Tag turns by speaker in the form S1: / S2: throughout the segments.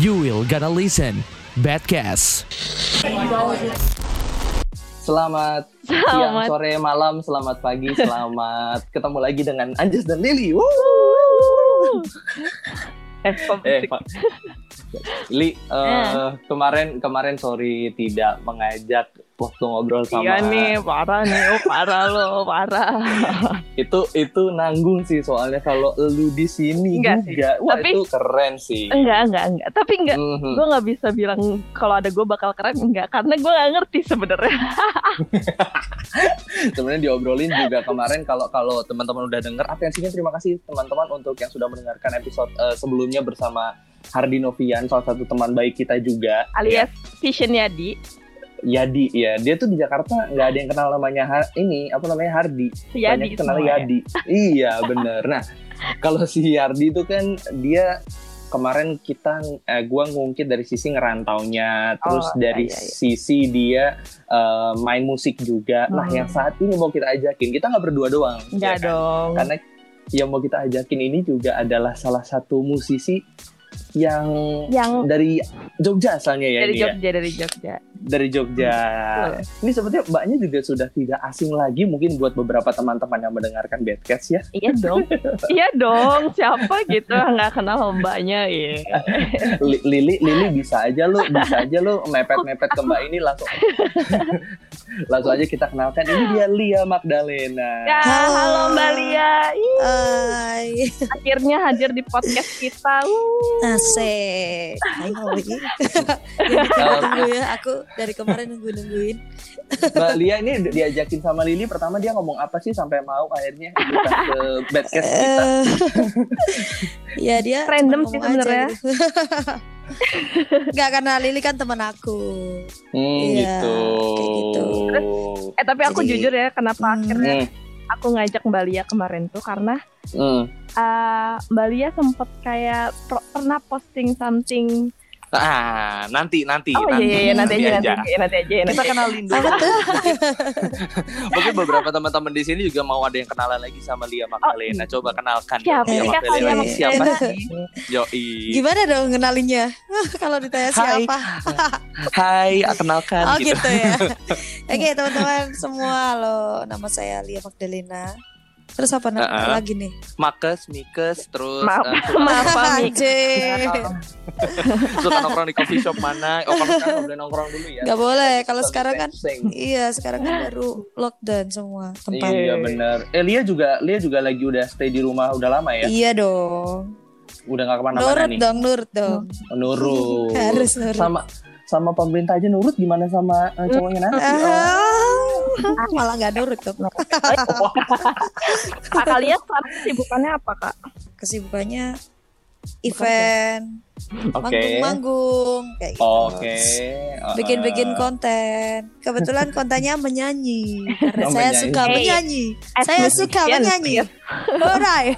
S1: You will gonna listen Badcast.
S2: Selamat, siang,
S3: Selamat.
S2: sore, malam, selamat pagi, selamat ketemu lagi dengan Anjas dan Lili. Woo!
S3: Eh, kok-
S2: Eh, Pak. Li, eh,
S3: Eh.
S2: kemarin kemarin sorry tidak mengajak waktu ngobrol sama
S3: iya nih, parah nih, oh parah lo, parah.
S2: itu itu nanggung sih soalnya kalau lu di sini
S3: Enggak sih.
S2: juga, wah
S3: Tapi-
S2: itu keren sih.
S3: Enggak, enggak, enggak. Tapi enggak,
S2: Mhm.
S3: gue nggak bisa bilang kalau ada gue bakal keren enggak, karena gue nggak ngerti sebenarnya.
S2: sebenarnya diobrolin juga kemarin kalau kalau teman-teman udah denger atensinya terima kasih teman-teman untuk yang sudah mendengarkan episode eh, sebelumnya bersama Hardi Novian salah satu teman baik kita juga Ya,
S3: Alias visionnya di,
S2: Yadi ya dia tuh di Jakarta nggak ada yang kenal namanya Har- ini apa namanya Hardi
S3: si
S2: banyak
S3: Yadi
S2: kenal
S3: semua ya.
S2: Yadi iya bener nah kalau si Yardi itu kan dia kemarin kita eh, gua ngungkit dari sisi ngerantaunya terus
S3: Oh,
S2: dari
S3: iya, iya.
S2: sisi dia eh, main musik juga nah yang
S3: Hmm.
S2: saat ini mau kita ajakin kita nggak berdua doang ya kan?
S3: Enggak dong.
S2: karena yang mau kita ajakin ini juga adalah salah satu musisi yang
S3: Yang
S2: dari Jogja asalnya Iya, ya
S3: Hmm. dari
S2: ini ya?
S3: Jogja, dari Jogja.
S2: dari Jogja. Nah, Ini sepertinya mbaknya juga sudah tidak asing lagi mungkin buat beberapa teman-teman yang mendengarkan Badcast ya.
S3: Iya dong, iya dong. Siapa gitu yang nggak kenal mbaknya ya?
S2: Li- Lili, Lili bisa aja lu, bisa aja lu mepet-mepet ke mbak ini langsung. langsung aja kita kenalkan ini dia Lia Magdalena.
S3: Ya,
S4: Halo.
S3: halo Mbak Lia. Ih,
S4: Hai,
S3: akhirnya hadir di podcast kita. Wuh.
S4: asik. Ayo lagi. Jadi tunggu ya, aku dari kemarin nunggu-nungguin.
S2: Mbak Lia ini di- diajakin sama Lili pertama dia ngomong apa sih sampai mau akhirnya ikutan ke Badcast kita.
S4: Eh, ya dia cuman
S3: Random sih
S4: ngomong aja
S3: sebenarnya.
S4: gitu. Nggak karena Lili kan temen aku.
S2: Hmm,
S4: Iya,
S2: gitu.
S4: kayak gitu.
S3: Eh tapi aku
S4: Jadi-
S3: jujur ya, kenapa
S4: Hmm.
S3: akhirnya
S2: Hmm,
S3: aku ngajak Mbak Lia kemarin tuh karena
S2: hmm.
S3: eh, Mbak Lia sempet kayak per- pernah posting something.
S2: Ah, nanti nanti
S3: oh iya, iya iya nanti aja nanti aja nanti aja. Nanti.
S2: Kita kenalin dulu.
S4: Apa tuh?
S2: Mungkin beberapa teman-teman di sini juga mau ada yang kenalan lagi sama Lia
S4: Oh.
S2: Magdalena. Coba kenalkan
S3: Siapa
S2: Lia
S3: sih Kak
S2: Magdalena
S3: Lia
S2: ini siapa
S4: Magdalena?
S2: sih? Yoi.
S4: Gimana dong ngenalinnya? Kalau ditanya
S2: Hai.
S4: siapa?
S2: Hai, ah, kenalkan
S4: Oh
S2: gitu.
S4: gitu ya. Oke teman-teman semua, halo. Nama saya Lia Magdalena. Terus apa nama
S2: Uh-uh.
S4: lagi nih?
S2: Makes, Mikes, terus
S3: Maaf
S2: eh,
S3: maaf Ami.
S4: Anjir.
S2: suka nongkrong di coffee shop mana? Oh, kalau sekarang nggak boleh nongkrong dulu ya.
S4: Nggak boleh, kalau
S2: Social
S4: sekarang kan-
S2: distancing.
S4: Iya, sekarang kan baru lockdown semua tempat.
S2: Iya benar. Eh Lia juga Lia juga lagi udah stay di rumah udah lama ya.
S4: Iya dong.
S2: Udah nggak kemana-mana
S4: Nurut
S2: nih.
S4: dong, nurut dong.
S2: Nurut.
S4: Harus nurut.
S2: Sama sama pemerintah aja nurut gimana sama eh, cowoknya nanti? Oh.
S4: Ah, malah nggak nurut dong.
S3: Kak kalian sekarang kesibukannya apa kak?
S4: Kesibukannya event,
S2: Oh, Oke. Oh,
S4: manggung-manggung, kayak gitu.
S2: Oke. eh.
S4: Bikin-bikin konten. Kebetulan kontennya menyanyi. Karena
S2: Oh,
S4: saya
S2: menyanyi.
S4: suka
S3: Hey,
S4: menyanyi.
S3: as
S4: Saya suka
S3: musician.
S4: menyanyi. Alright.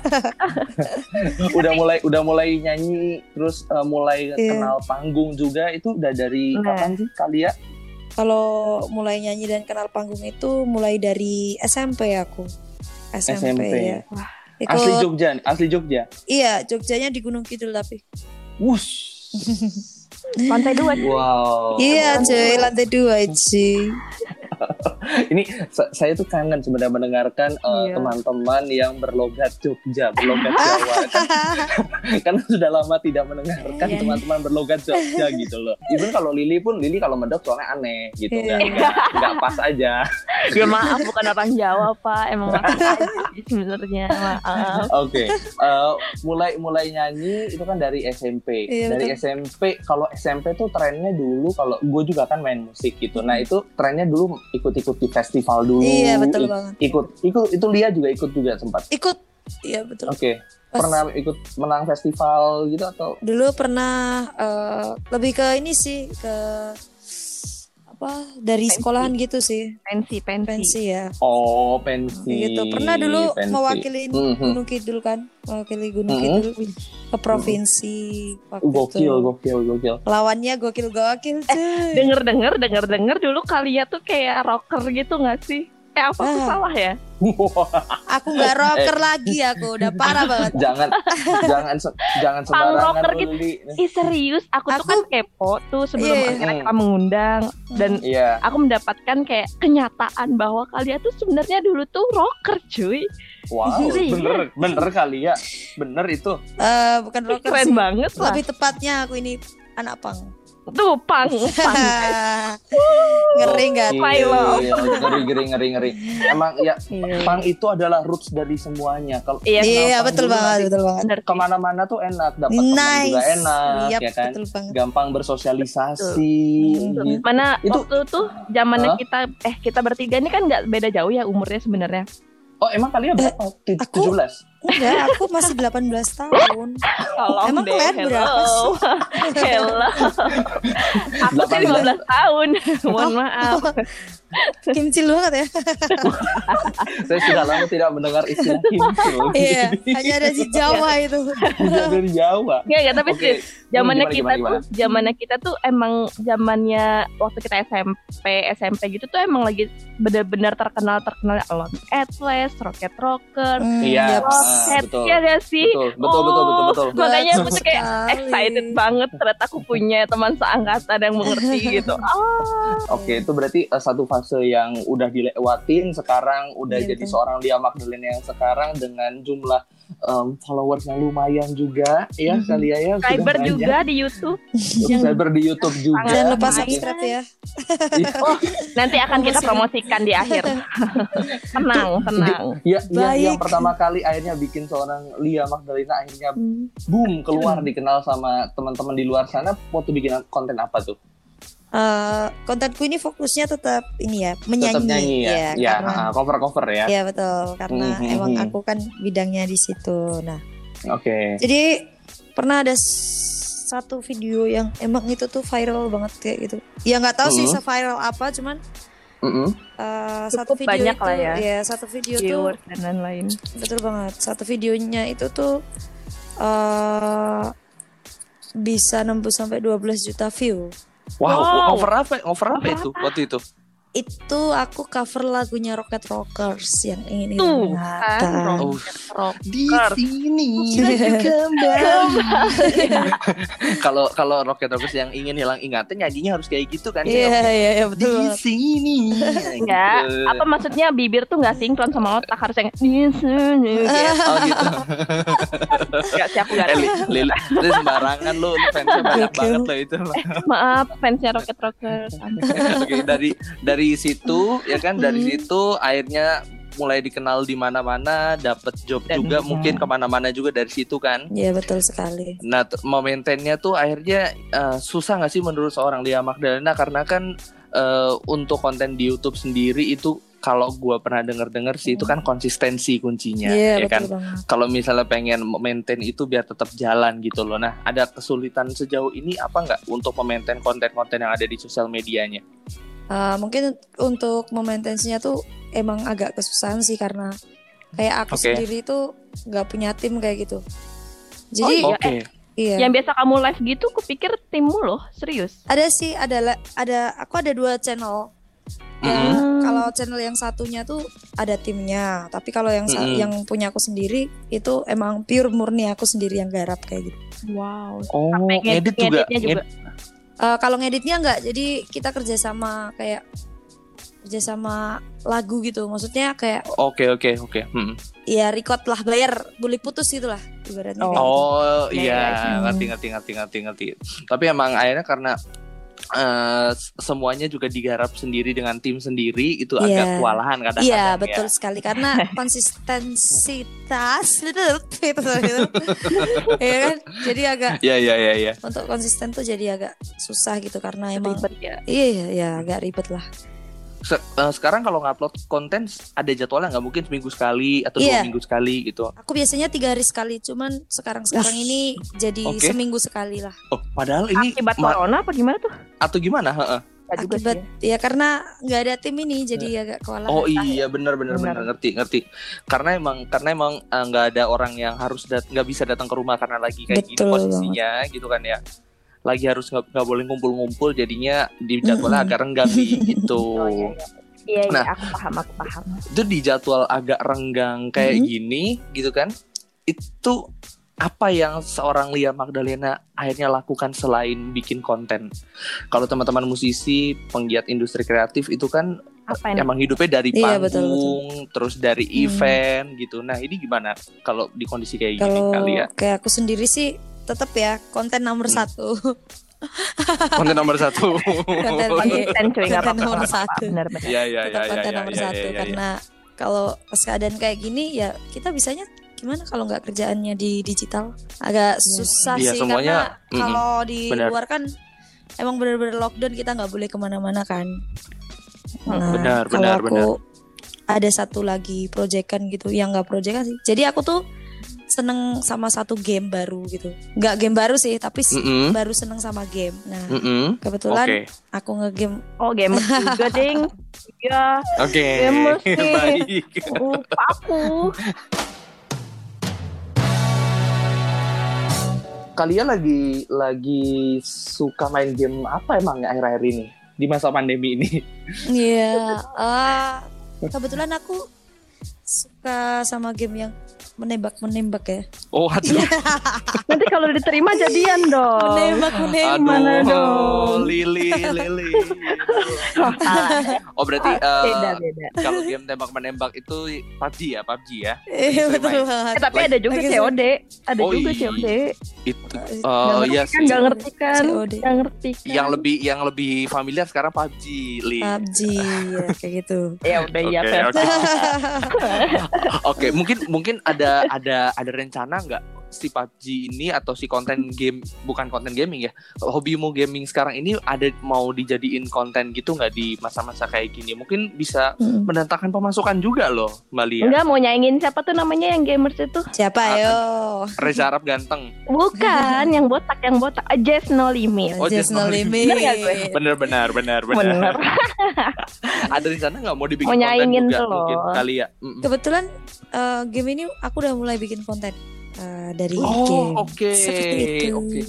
S2: udah mulai udah mulai nyanyi terus eh, mulai
S4: Iya.
S2: kenal panggung juga itu udah dari
S3: Nah.
S2: kapan sih kali ya?
S4: Kalau mulai nyanyi dan kenal panggung itu mulai dari SMP aku. SMP,
S2: SMP.
S4: ya.
S2: Asli
S4: Ikut
S2: Jogja, nih, asli Jogja.
S4: Iya, Jogjanya di Gunung Kidul tapi.
S2: Wush.
S3: Lantai dua.
S2: Wow.
S4: Iya, cuy, lantai dua cuy.
S2: Sa- saya tuh kangen sebenarnya mendengarkan eh,
S3: Iya.
S2: teman-teman yang berlogat Jogja, berlogat Jawa. Kan- Karena sudah lama tidak mendengarkan
S4: Iya.
S2: teman-teman berlogat Jogja gitu loh. Even kalau Lili pun Lili kalau medok soalnya aneh gitu
S4: Iya.
S2: nggak nggak nggak pas aja.
S3: Ya maaf bukan orang Jawa pak, emang orang Bali sebenarnya maaf.
S2: Oke, eh, mulai mulai nyanyi itu kan dari SMP.
S4: Iya,
S2: dari
S4: betul.
S2: SMP, kalau SMP tuh trennya dulu kalau gue juga kan main musik gitu. Nah itu trennya dulu ikut-ikut di festival dulu.
S4: Iya, betul
S2: ik-
S4: banget.
S2: Ikut, ikut itu Lia juga ikut juga sempat.
S4: Ikut. Iya, betul.
S2: Oke,
S4: Pas-
S2: pernah ikut menang festival gitu atau?
S4: dulu pernah eh, lebih ke ini sih ke apa dari
S3: Pensi.
S4: sekolahan gitu sih,
S3: Pensi pensi.
S4: pensi ya.
S2: Oh pensi.
S4: Gitu. Pernah dulu
S2: pensi.
S4: mewakili
S2: Mhm.
S4: Gunung Kidul kan, mewakili Gunung
S2: Mm-mm.
S4: Kidul ke provinsi waktu
S2: Mhm. Gokil,
S4: itu.
S2: gokil, gokil.
S3: Eh,
S4: Lawannya gokil-gokil cuy.
S3: Dengar dengar dengar dengar dulu kalian tuh kayak rocker gitu nggak sih? Eh apa aku
S4: Ah.
S3: salah ya?
S4: Aku
S2: Eh.
S4: nggak rocker lagi aku, udah parah banget.
S2: jangan jangan se- jangan sembarangan
S3: rocker
S2: lu,
S3: gitu.
S2: Li.
S3: Ih serius, aku, tuh
S4: Aku-
S3: kan kepo tuh sebelum
S4: Iya.
S3: akhirnya kita mengundang dan
S2: Iya.
S3: aku mendapatkan kayak kenyataan bahwa kalian tuh sebenarnya dulu tuh rocker cuy.
S2: Wow,
S3: Serius.
S2: bener, bener kali ya, bener itu.
S4: Eh, bukan
S3: Ih,
S4: rocker
S3: Keren
S4: sih.
S3: banget lah.
S4: Lebih tepatnya aku ini anak pang.
S3: Tuh pang, pang.
S4: Ngeri
S2: Oke, iya,
S4: nggak?
S3: Pylon.
S2: Ngeri, ngeri, ngeri, ngeri. Emang ya, pang itu adalah roots dari semuanya. Kalau
S3: Iya,
S4: Iya
S2: kenal pang
S4: betul
S2: dulu
S4: banget,
S2: nanti
S4: betul banget.
S3: bener.
S2: Kemana-mana tuh enak, dapat teman
S4: Nice.
S2: juga enak,
S4: Yap,
S2: ya kan.
S4: betul banget.
S2: Gampang bersosialisasi.
S4: Betul.
S2: gitu.
S3: Mana
S2: Itu-
S3: waktu tuh zamannya
S2: Hah?
S3: kita eh kita bertiga ini kan nggak beda jauh ya umurnya sebenarnya.
S2: Oh emang kalian berapa? Tu-
S4: Eh, aku-
S2: 17?
S4: Enggak, aku masih 18 tahun.
S3: Tolong
S4: Emang
S3: deh,
S4: kalian
S3: hello.
S4: berapa sih?
S3: Hello. Aku sih
S2: 18.
S3: 15 tahun. Mohon maaf.
S4: Kimcil Oh, banget ya.
S2: Saya sudah lama tidak mendengar istilah kimcil.
S4: Iya, hanya ada di Jawa itu.
S2: Hanya dari Jawa.
S3: Enggak, enggak, tapi
S2: Oke.
S3: serius, zamannya
S2: gimana,
S3: kita
S2: gimana,
S3: tuh, zamannya kita tuh emang zamannya waktu kita SMP, SMP gitu tuh emang lagi benar-benar terkenal terkenal Alon Atlas, Rocket Rocker,
S4: Hmm,
S2: Iya,
S4: yap.
S2: ah,
S3: Rocket,
S2: betul.
S3: ya gak sih?
S2: Betul, betul, betul, betul, betul.
S3: Oh, Makanya aku tuh kayak
S4: Betul sekali.
S3: excited banget ternyata aku punya teman seangkatan yang mengerti gitu. Oh,
S2: Oke, itu berarti eh, satu fase yang udah dilewatin, sekarang udah
S4: Iya,
S2: jadi
S4: betul.
S2: seorang Lia Magdalena yang sekarang dengan jumlah em, followers yang lumayan juga, ya
S4: Mhm.
S2: kali ya. ya, sudah
S3: subscriber
S2: banyak.
S3: juga di YouTube.
S2: subscriber di YouTube juga. Iya.
S4: Jangan lupa
S3: Main.
S4: subscribe ya.
S3: Oh, nanti akan kita promosikan di akhir. Tenang, tenang.
S2: Ya, ya, yang
S4: Baik.
S2: pertama kali akhirnya bikin seorang Lia Magdalena akhirnya
S3: Hmm.
S2: boom keluar dikenal sama teman-teman di luar sana. Waktu bikin konten apa tuh?
S4: Eh, kontenku ini fokusnya tetap ini ya, menyanyi.
S2: Tetap nyanyi ya,
S4: Iya,
S2: ya,
S4: karena-
S2: ah, cover-cover ya.
S4: Iya betul, karena
S2: Mhm.
S4: emang aku kan bidangnya di situ. Nah,
S2: Oke.
S4: jadi pernah ada s- satu video yang emang itu tuh viral banget kayak gitu. Ya nggak tahu sih
S2: Mhm.
S4: se-viral apa, cuman
S2: Mm-mm.
S4: eh,
S3: Cukup
S4: satu video
S3: banyak
S4: itu, iya,
S3: lah ya.
S4: satu video
S3: Viewers
S4: tuh
S3: dan lain-lain.
S4: betul banget. Satu videonya itu tuh eh bisa nembus sampai 12 juta view.
S2: Wow,
S3: Wow.
S2: cover apa? Cover apa
S3: Cover
S2: itu waktu itu?
S4: Itu aku cover lagunya Rocket Rockers yang ingin
S3: Tuh, kan,
S4: hilang
S2: Oh,
S3: Rock.
S2: di
S3: Rocker.
S2: sini kalau kalau Rocket Rockers yang ingin hilang ingatan nyanyinya harus kayak gitu kan
S4: Iya,
S2: kayak,
S4: iya, iya
S2: di
S4: betul. banget.
S2: sini
S3: Enggak,
S2: Gitu.
S3: apa maksudnya bibir tuh nggak sinkron sama otak harus yang enggak
S2: oh gitu
S3: sih aku nggak
S2: Eh,
S3: tahu.
S2: Li- Li- Li, itu sembarangan lu lu fansnya banyak
S4: Gokil.
S2: banget lo itu
S3: maaf fansnya Rocket Rocker
S2: Oke, dari dari situ ya kan dari
S3: Mm-hmm.
S4: Mhm.
S2: situ akhirnya mulai dikenal di mana-mana dapat job
S3: Dan-
S2: juga mungkin kemana-mana juga dari situ kan
S4: Iya betul sekali.
S2: Nah, t- memaintainnya tuh akhirnya eh, susah nggak sih menurut seorang Lia Magdalena karena kan eh, untuk konten di YouTube sendiri itu kalau gua pernah denger-denger sih
S3: Hmm.
S2: itu kan konsistensi kuncinya,
S4: Iya
S2: ya
S4: betul
S2: kan.
S4: banget.
S2: Kalau misalnya pengen maintain itu biar tetap jalan gitu loh. Nah, ada kesulitan sejauh ini apa nggak untuk memaintain konten-konten yang ada di sosial medianya?
S4: Eh, mungkin untuk memaintensinya tuh emang agak kesusahan sih karena kayak aku
S2: Oke.
S4: sendiri tuh nggak punya tim kayak gitu. Jadi
S3: Oh,
S2: Oke,
S3: Iya,
S4: iya.
S3: yang biasa kamu live gitu kupikir timmu loh serius
S4: Ada sih ada la- ada aku ada dua channel.
S2: Mm-mm.
S4: Ya,
S3: Hmm.
S4: Kalau channel yang satunya tuh ada timnya, tapi kalau yang sa-
S3: Mm-hmm.
S2: Mm-mm.
S4: yang punya aku sendiri itu emang pure murni aku sendiri yang garap kayak gitu.
S3: wow
S2: oh
S3: Sampai
S2: ngedit
S3: ngedit-
S2: juga,
S3: ngeditnya juga.
S2: Nged-
S4: Eh, kalau ngeditnya nggak, jadi kita kerjasama kayak kerjasama lagu gitu, maksudnya kayak
S2: Oke oke oke. Mm.
S4: ya record lah bayar boleh putus gitu lah ibaratnya
S3: Oh.
S4: kayak gitu.
S2: Oh
S3: Iya,
S2: iya,
S4: iya.
S2: ngerti ngerti ngerti ngerti ngerti. Tapi emang akhirnya karena eh, s- semuanya juga digarap sendiri dengan tim sendiri itu
S4: Iya.
S2: agak kewalahan kadang-kadang.
S4: Iya
S2: ya.
S4: betul sekali karena konsistensitas itu itu itu ya kan jadi agak
S2: Iya iya iya iya.
S4: untuk konsisten tuh jadi agak susah gitu karena emang
S3: ribet ya
S4: iya iya iya, agak ribet lah
S2: Se- eh, sekarang kalau ngupload konten s- ada jadwalnya nggak mungkin seminggu sekali atau
S4: Iya.
S2: dua minggu sekali gitu.
S4: aku biasanya tiga hari sekali cuman sekarang sekarang ini jadi
S2: Oke.
S4: seminggu sekali lah
S2: Oh, padahal ini
S3: akibat
S2: ma-
S3: corona apa gimana tuh
S2: atau gimana? Heeh.
S3: Nggak juga sih
S4: akibat ya karena nggak ada tim ini jadi agak kewalahan
S2: Oh iya benar benar
S3: Benar.
S2: benar ngerti ngerti. Karena emang karena emang eh, nggak ada orang yang harus dat- nggak bisa datang ke rumah karena lagi kayak gini
S4: Betul
S2: posisinya gitu kan ya. Lagi harus nggak nggak boleh ngumpul-ngumpul jadinya di jadwalnya
S4: Mm-mm.
S2: agak renggang nih, gitu.
S3: Oh, iya, iya. Iya, iya,
S2: Nah.
S3: aku paham, aku paham.
S2: itu di jadwal agak renggang kayak
S3: Mm-hmm.
S4: Mhm.
S2: gini gitu kan itu apa yang seorang Lia Magdalena akhirnya lakukan selain bikin konten kalau teman-teman musisi penggiat industri kreatif itu kan
S3: Apa yang
S2: emang hidupnya dari
S4: Iya,
S2: panggung
S4: betul,
S2: terus dari
S4: Hmm.
S2: event gitu nah ini gimana kalau di kondisi kayak gini
S4: Kalau
S2: kali ya
S4: kayak aku sendiri sih tetap ya konten nomor
S2: Hmm.
S4: satu.
S2: konten nomor satu iya.
S4: Konten paling-
S3: konsisten cuy nggak
S4: Konten
S3: apa-apa
S4: nomor
S3: nggak apa-apa,
S4: satu.
S3: benar-benar
S2: ya ya ya
S4: tetap
S2: ya
S4: konten
S2: ya
S4: nomor
S2: ya,
S4: satu
S2: ya, ya, ya.
S4: karena kalau pas keadaan kayak gini ya kita bisanya gimana kalau nggak kerjaannya di digital agak susah
S2: Iya,
S4: sih
S2: semuanya,
S4: karena kalau di
S2: benar.
S4: luar kan emang bener-bener lockdown kita nggak boleh kemana-mana kan
S3: Hmm.
S4: nah,
S2: Benar,
S4: kalau
S2: benar,
S4: aku ada satu lagi proyekan gitu yang nggak proyekan sih jadi aku tuh seneng sama satu game baru gitu nggak game baru sih tapi s-
S2: Mm-mm,
S4: baru seneng sama game nah
S2: mm-mm.
S4: kebetulan
S2: oke
S4: aku ngegame
S3: oh gamers juga ding ya
S2: oke
S3: Gemes nih.
S2: baik
S3: lupa aku
S2: kalian lagi lagi suka main game apa emang akhir-akhir ini di masa pandemi ini?
S4: Iya, ah, kebetulan aku suka sama game yang menembak-menembak ya.
S2: Oh, aduh,
S3: nanti kalau diterima jadian dong
S4: Menembak-menembak.
S3: Mana
S2: aduh,
S3: dong?
S2: Lili, Lili.
S3: Ah,
S2: Oh berarti eh,
S3: beda beda
S2: kalau game tembak menembak itu PUBG ya, PUBG ya.
S4: Iya, betul
S2: Main.
S4: banget.
S3: Eh, tapi ada juga
S4: Lagi
S3: COD ada
S2: Oh,
S3: juga
S2: iya.
S3: COD
S2: Itu
S3: Nggak
S2: oh
S3: ngerti
S2: iya
S3: kan
S2: sih.
S3: nggak ngerti kan
S4: COD.
S3: nggak ngerti kan.
S2: yang lebih yang lebih familiar sekarang PUBG, Li.
S4: PUBG ya, kayak gitu.
S3: ya udah ya
S2: Oke,
S3: fair.
S2: oke. Oke, mungkin mungkin ada ada ada rencana nggak si PUBG ini atau si konten game bukan konten gaming ya hobimu gaming sekarang ini ada mau dijadiin konten gitu nggak di masa-masa kayak gini mungkin bisa
S3: Hmm.
S4: Mm.
S2: mendatangkan pemasukan juga loh mbak Lia
S3: Enggak mau nyaingin siapa tuh namanya yang gamers itu?
S4: Siapa
S2: Ah,
S4: yo?
S2: Reza Arab ganteng
S3: Bukan, yang botak, yang botak. Ah, Jazz No Limit.
S2: Oh, just
S4: Just no
S2: no
S4: limit.
S3: Bener nggak gue?
S2: bener bener bener
S3: Bener.
S2: ada rencana nggak mau dibikin
S3: Mau
S2: konten
S3: nyaingin
S2: juga
S3: tuh loh.
S2: mungkin kali ya Mm-mm.
S4: Kebetulan eh, game ini aku udah mulai bikin konten eh, dari game.
S2: Oh oke
S4: Seperti itu.
S2: oke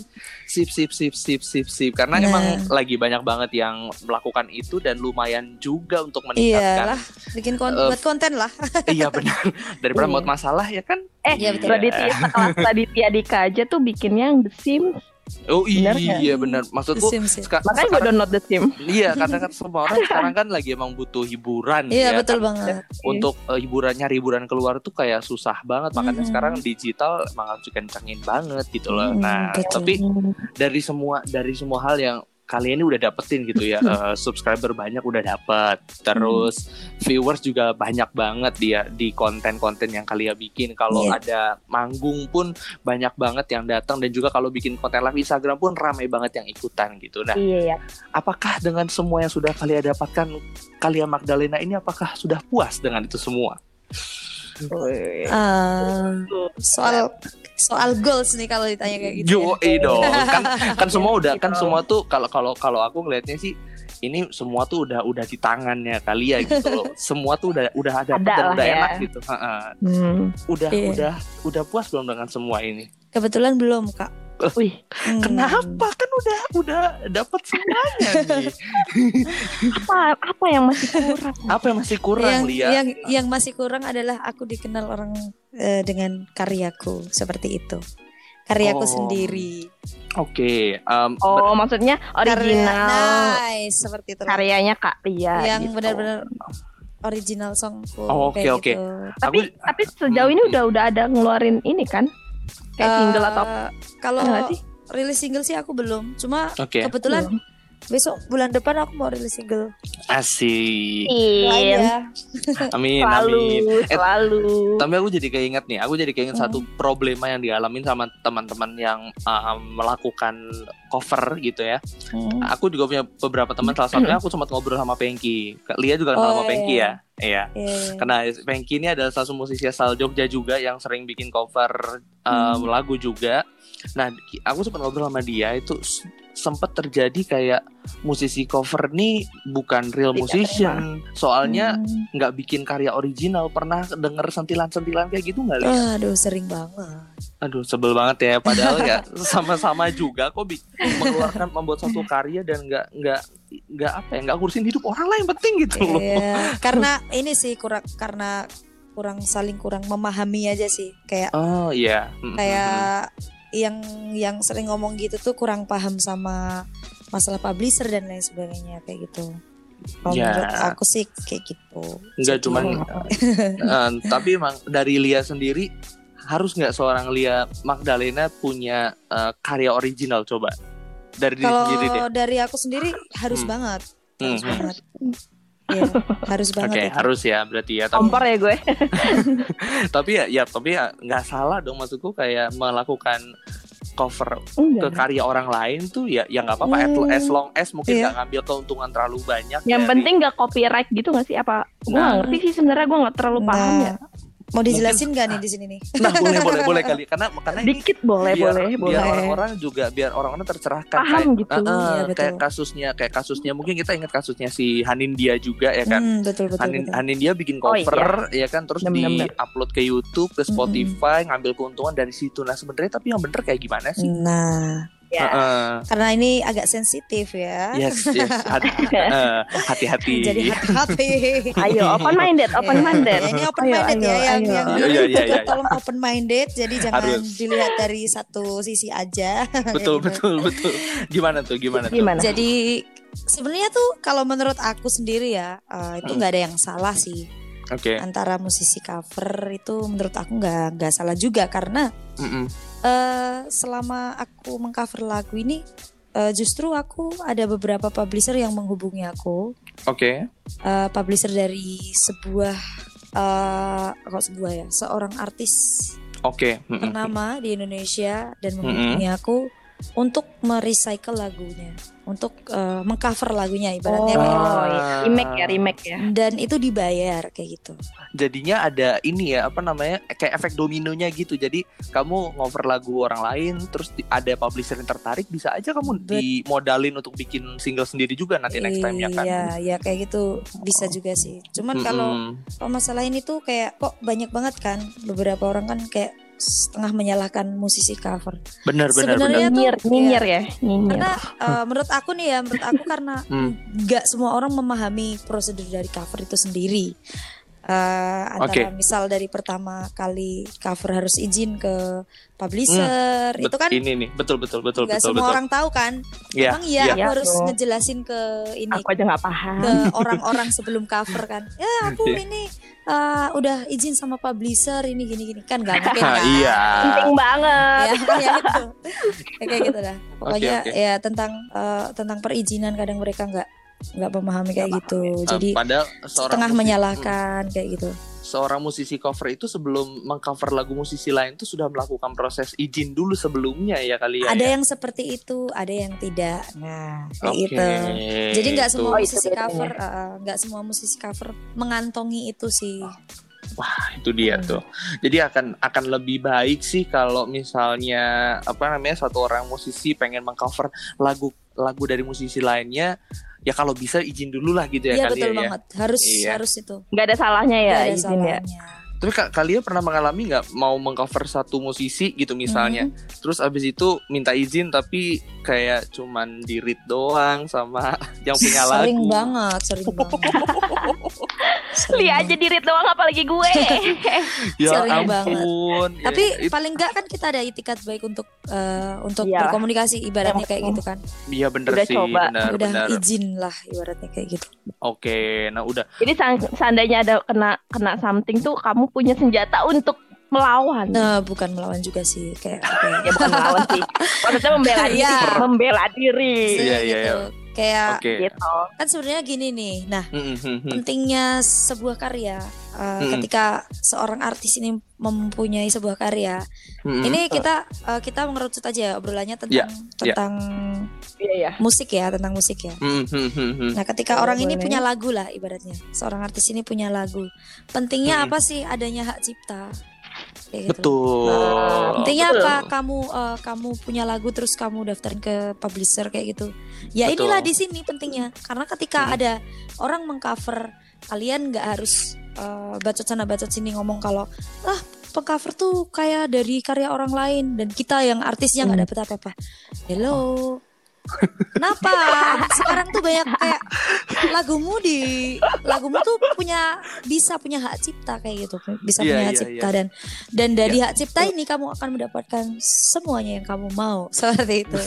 S2: sip sip sip sip sip sip karena
S4: Nah.
S2: emang lagi banyak banget yang melakukan itu dan lumayan juga untuk meningkatkan
S4: Iyalah, bikin kon-
S2: Eh,
S4: buat konten lah.
S2: iya benar daripada
S3: Iya.
S2: buat masalah ya kan
S3: Eh,
S4: Iya, betul.
S3: Raditya sekelas Raditya Dika aja tuh bikinnya yang The Sims.
S2: oh
S3: Benar nggak?
S2: iya benar maksudku
S4: Sims, ya.
S2: seka-
S3: Makanya gue
S2: sekarang-
S3: download The Sims.
S2: iya karena kan semua orang sekarang kan lagi emang butuh
S3: Hmm,
S2: hiburan
S4: Iya,
S2: ya
S4: betul banget.
S2: untuk eh, hiburan nyari hiburan keluar tuh kayak susah banget makanya
S4: Mhm.
S2: sekarang digital emang harus dikencengin banget gitu loh
S4: Mhm,
S2: nah
S4: betul.
S2: tapi
S3: Hmm,
S2: dari semua dari semua hal yang kalian ini udah dapetin gitu ya Eh, subscriber banyak udah dapet terus viewers juga banyak banget dia di konten-konten yang kalian bikin kalau
S4: Iya.
S2: ada manggung pun banyak banget yang datang dan juga kalau bikin konten live Instagram pun ramai banget yang ikutan gitu nah
S3: Iya, ya.
S2: apakah dengan semua yang sudah kalian dapatkan kalian Magdalena ini apakah sudah puas dengan itu semua
S4: Ah, soal soal goals nih kalau ditanya kayak gitu.
S2: Yo, eh dong. kan kan semua udah kan
S3: Gitu.
S2: semua tuh kalau kalau kalau aku ngelihatnya sih ini semua tuh udah udah di tangannya kalian gitu loh. Semua tuh udah udah ada
S3: Ada
S2: dan
S3: lah
S2: udah
S3: ya.
S2: enak gitu. Ha-ha.
S3: Hmm.
S2: Udah
S4: Iya.
S2: udah udah puas belum dengan semua ini?
S4: Kebetulan belum kak.
S3: Wih,
S4: Hmm.
S2: Kenapa? Kan udah udah dapat semuanya nih.
S3: apa apa yang masih kurang?
S2: Apa yang masih
S4: Yang,
S2: kurang Lia?
S4: yang yang masih kurang adalah aku dikenal orang eh, dengan karyaku seperti itu. Karyaku
S2: Oh.
S4: sendiri.
S2: Oke, em, ber-
S3: Oh, maksudnya original Nah,
S4: Karya, nice, seperti itu.
S3: karyanya Kak Lia.
S4: yang
S3: gitu.
S4: benar-benar original songku.
S2: Oh, oke,
S4: kayak
S2: oke.
S4: gitu.
S2: aku
S3: Tapi tapi sejauh ini udah udah ada ngeluarin ini kan? Kayak
S4: Eh,
S3: single atau apa
S4: Kalau
S3: nggak sih?
S4: rilis single sih aku belum. Cuma
S2: Oke,
S4: kebetulan
S3: Belum.
S4: besok bulan depan aku mau rilis single.
S2: asik.
S4: Doain
S3: Iya.
S4: ya.
S2: Amin,
S3: Selalu,
S2: amin. Eh,
S3: selalu.
S2: tapi aku jadi keinget nih aku jadi keinget
S4: Hmm.
S2: satu problema yang dialamin sama teman-teman yang uh, melakukan cover gitu ya
S4: Hmm.
S2: aku juga punya beberapa teman salah satunya aku sempat ngobrol sama Pengki Lia juga kenal
S4: Oh,
S2: sama Pengki
S4: iya.
S2: ya iya
S4: Iya.
S2: karena Pengki ini adalah salah satu musisi asal Jogja juga yang sering bikin cover uh,
S4: Hmm.
S2: lagu juga nah ki- aku sempat ngobrol sama dia itu s- sempat terjadi kayak musisi cover nih bukan real
S3: Tidak
S2: musician. Soalnya
S4: Hmm.
S2: nggak bikin karya original. Pernah denger sentilan-sentilan kayak gitu nggak? Li?
S4: Hmm. Aduh sering banget.
S2: Aduh sebel banget ya padahal ya sama-sama juga kok bi- mengeluarkan membuat satu karya dan nggak nggak nggak apa ya nggak ngurusin hidup orang lah yang penting gitu loh.
S4: Iya, karena ini sih kurang karena kurang saling kurang memahami aja sih. Kayak
S2: Oh iya. Mm-mm.
S4: kayak yang yang sering ngomong gitu tuh kurang paham sama masalah publisher dan lain sebagainya kayak gitu. Kalau
S2: Ya.
S4: menurut aku sih kayak gitu.
S2: nggak
S4: Jadi-
S2: cuman eh, tapi emang dari Lia sendiri harus nggak seorang Lia Magdalena punya eh, karya original coba dari diri
S4: kalau
S2: sendiri deh.
S4: dari aku sendiri harus
S2: Hmm.
S4: banget, harus
S2: Hmm.
S4: banget. Iya, harus
S2: Oke
S4: banget. itu.
S2: harus ya berarti ya. Tapi,
S3: Kompor ya gue.
S2: tapi ya ya tapi ya nggak salah dong maksudku kayak melakukan cover ke
S3: Enggak.
S2: karya orang lain tuh ya ya nggak apa-apa
S4: Hmm.
S2: as long as mungkin nggak
S4: Iya.
S2: ngambil keuntungan terlalu banyak
S3: Yang
S2: dari-
S3: penting gak copyright gitu gak sih apa? Gue
S2: Nah.
S3: gak ngerti sih sebenarnya gue gak terlalu paham
S4: Nah,
S3: ya.
S4: Mau dijelasin gak nih di sini nih?
S2: nah boleh boleh boleh kali karena karena ini
S3: Dikit boleh
S2: biar,
S3: boleh
S2: biar
S3: boleh.
S2: orang-orang juga biar orang-orang tercerahkan
S3: Paham
S2: kayak,
S3: gitu,
S2: eh,
S4: iya, betul.
S2: kayak kasusnya kayak kasusnya mungkin kita ingat kasusnya si Hanindia juga ya kan
S4: Hmm, betul betul.
S2: Hanin,
S4: betul.
S2: Hanindia bikin
S3: Oh,
S2: cover ya kan terus
S3: Bener, Hmm. bener.
S2: di-upload ke YouTube ke
S4: Mm-mm.
S2: Spotify ngambil keuntungan dari situ nah sebenarnya tapi yang bener kayak gimana sih
S4: Nah,
S2: Iya.
S3: Ya.
S2: Heeh.
S4: karena ini agak sensitif ya.
S2: yes yes Hat- eh, hati-hati Iya,
S4: Jadi hati-hati.
S3: Ayo open minded, open minded.
S4: Ya, ini open
S3: Ayo,
S4: minded ya
S3: ayo,
S4: yang
S3: ayo.
S4: yang
S2: Iya, iya, iya, iya.
S4: tolong open minded jadi jangan
S2: Harus.
S4: dilihat dari satu sisi aja.
S2: betul
S4: Kayak gitu.
S2: betul betul gimana tuh gimana tuh
S3: Gimana?
S4: Jadi sebenarnya tuh kalau menurut aku sendiri ya eh, itu nggak ada yang salah sih
S2: Hmm. oke
S4: antara musisi cover itu menurut aku nggak nggak salah juga karena
S2: Mm-mm.
S4: eh selama aku mengcover lagu ini eh, justru aku ada beberapa publisher yang menghubungi aku
S2: oke
S4: eh, publisher dari sebuah eh kok sebuah ya seorang artis
S2: oke Mm-mm.
S4: ternama di Indonesia dan menghubungi aku untuk merecycle lagunya, untuk eh, mengcover lagunya ibaratnya kayak gitu.
S3: Oh, iya. remake ya, remake ya.
S4: Dan itu dibayar kayak gitu.
S2: jadinya ada ini ya apa namanya kayak efek dominonya gitu jadi kamu ngover lagu orang lain terus di- ada publisher yang tertarik bisa aja kamu
S4: Bet-
S2: dimodalin untuk bikin single sendiri juga nanti next time ya kan Oh.
S4: Iya, ya kayak gitu bisa juga sih. Cuman kalau permasalahan itu kayak kok banyak banget kan beberapa orang kan kayak setengah menyalahkan musisi cover.
S2: bener bener bener
S4: Sebenarnya- Iya
S3: Nyinyir,
S4: tuh, iya.
S3: nyinyir ya, nyinyir.
S4: Karena eh, menurut aku nih ya, menurut aku karena
S2: Hmm.
S4: nggak semua orang memahami prosedur dari cover itu sendiri. Eh, antara misal dari pertama kali cover harus izin ke publisher,
S2: Bet-
S4: itu kan
S2: ini nih Hmm, betul betul betul
S4: nggak
S2: betul
S4: semua
S2: betul
S4: orang tahu kan.
S2: Iya,
S4: Emang iya,
S3: iya.
S4: aku harus
S3: Iya, tuh.
S4: ngejelasin ke ini
S3: Aku aja gak paham.
S4: ke orang-orang sebelum cover kan. Ya aku
S2: Iya.
S4: ini eh, udah izin sama publisher ini gini-gini kan nggak mungkin
S2: Hah,
S4: kan.
S2: iya
S3: Penting banget.
S4: ya, ya gitu. Ya, kayak gitu dah. Pokoknya
S2: Oke, oke.
S4: ya tentang eh, tentang perizinan kadang mereka nggak nggak memahami kayak
S3: Nggak
S4: gitu.
S2: Eh,
S4: Jadi
S2: padahal seorang
S4: setengah
S2: musisi-
S4: menyalahkan kayak gitu.
S2: Hmm, seorang musisi cover itu sebelum mengcover lagu musisi lain itu sudah melakukan proses izin dulu sebelumnya ya kali ya
S4: ada
S2: ya?
S4: yang seperti itu, ada yang tidak. Nah, kayak
S2: Oke,
S4: gitu. Jadi nggak
S2: itu. iya,
S4: semua
S3: Oh, itu
S4: musisi
S3: bedanya.
S4: cover, eh, eh, nggak semua musisi cover mengantongi itu sih.
S2: Oh, itu dia
S4: Hmm.
S2: tuh jadi akan akan lebih baik sih kalau misalnya apa namanya satu orang musisi pengen mengcover lagu lagu dari musisi lainnya ya kalau bisa izin dulu lah gitu ya
S4: Iya
S2: kalian
S4: betul
S2: ya
S4: banget, harus
S2: Iya.
S4: harus itu.
S3: Gak ada salahnya ya,
S4: Nggak ada
S3: izin ya.
S4: salahnya.
S2: tapi Kak, kalian pernah mengalami nggak mau mengcover satu musisi gitu misalnya
S4: Mhm.
S2: terus abis itu minta izin tapi kayak cuman di read doang sama yang punya lagu
S4: Sering banget, sering banget.
S3: Li
S4: Sering banget.
S3: aja dirit doang apalagi gue.
S2: ya
S4: sering
S2: ampun
S4: banget.
S2: Ya,
S4: Tapi
S2: itu-
S4: paling enggak kan kita ada itikat baik untuk eh, untuk
S3: Iyalah.
S4: berkomunikasi ibaratnya
S3: Yang
S4: kayak
S3: penting.
S4: gitu kan.
S2: iya bener
S3: Udah
S2: sih
S3: coba.
S2: bener
S4: Udah
S2: bener
S4: izin lah ibaratnya kayak gitu.
S2: oke nah udah
S3: Jadi sang- seandainya ada kena kena something tuh kamu punya senjata untuk melawan.
S4: Nah, bukan melawan juga sih kayak
S2: Iya,
S4: kayak-
S3: Ya bukan melawan sih. Maksudnya membela diri,
S4: Iya.
S3: membela diri.
S2: Iya,
S4: gitu.
S2: iya, iya.
S4: Kayak
S2: oke
S3: Gitu.
S4: kan sebenarnya gini nih. Nah,
S2: Mm, mm, mm, mm.
S4: pentingnya sebuah karya eh,
S2: Mm-mm.
S4: ketika seorang artis ini mempunyai sebuah karya.
S2: Mm, mm.
S4: Ini kita eh, kita mengerucut aja ya obrolannya tentang tentang
S3: Iya ya.
S4: musik ya, tentang musik ya.
S2: Hmm, hmm, hmm, hmm.
S4: Nah, ketika
S3: Boleh,
S4: orang ini
S3: boleh.
S4: punya lagu lah ibaratnya. Seorang artis ini punya lagu. Pentingnya
S2: Hmm.
S4: apa sih adanya hak cipta? Kayak gitu.
S2: Betul.
S3: Nah,
S4: Intinya
S2: Betul.
S4: apa? Kamu eh, kamu punya lagu terus kamu daftarin ke publisher kayak gitu. Ya
S2: Betul.
S4: inilah di sini pentingnya. Karena ketika
S2: Hmm.
S4: ada orang mengcover kalian nggak harus eh, bacot sana bacot sini ngomong kalau ah pengcover tuh kayak dari karya orang lain dan kita yang artisnya
S2: Hmm.
S4: nggak dapet apa-apa. Hello. Kenapa? Sekarang tuh banyak kayak lagumu di lagumu tuh punya bisa punya hak cipta kayak gitu.
S2: Iya,
S4: Bisa punya hak
S2: iya,
S4: cipta
S2: iya.
S4: dan dan dari hak cipta ini kamu akan mendapatkan semuanya yang kamu mau seperti itu.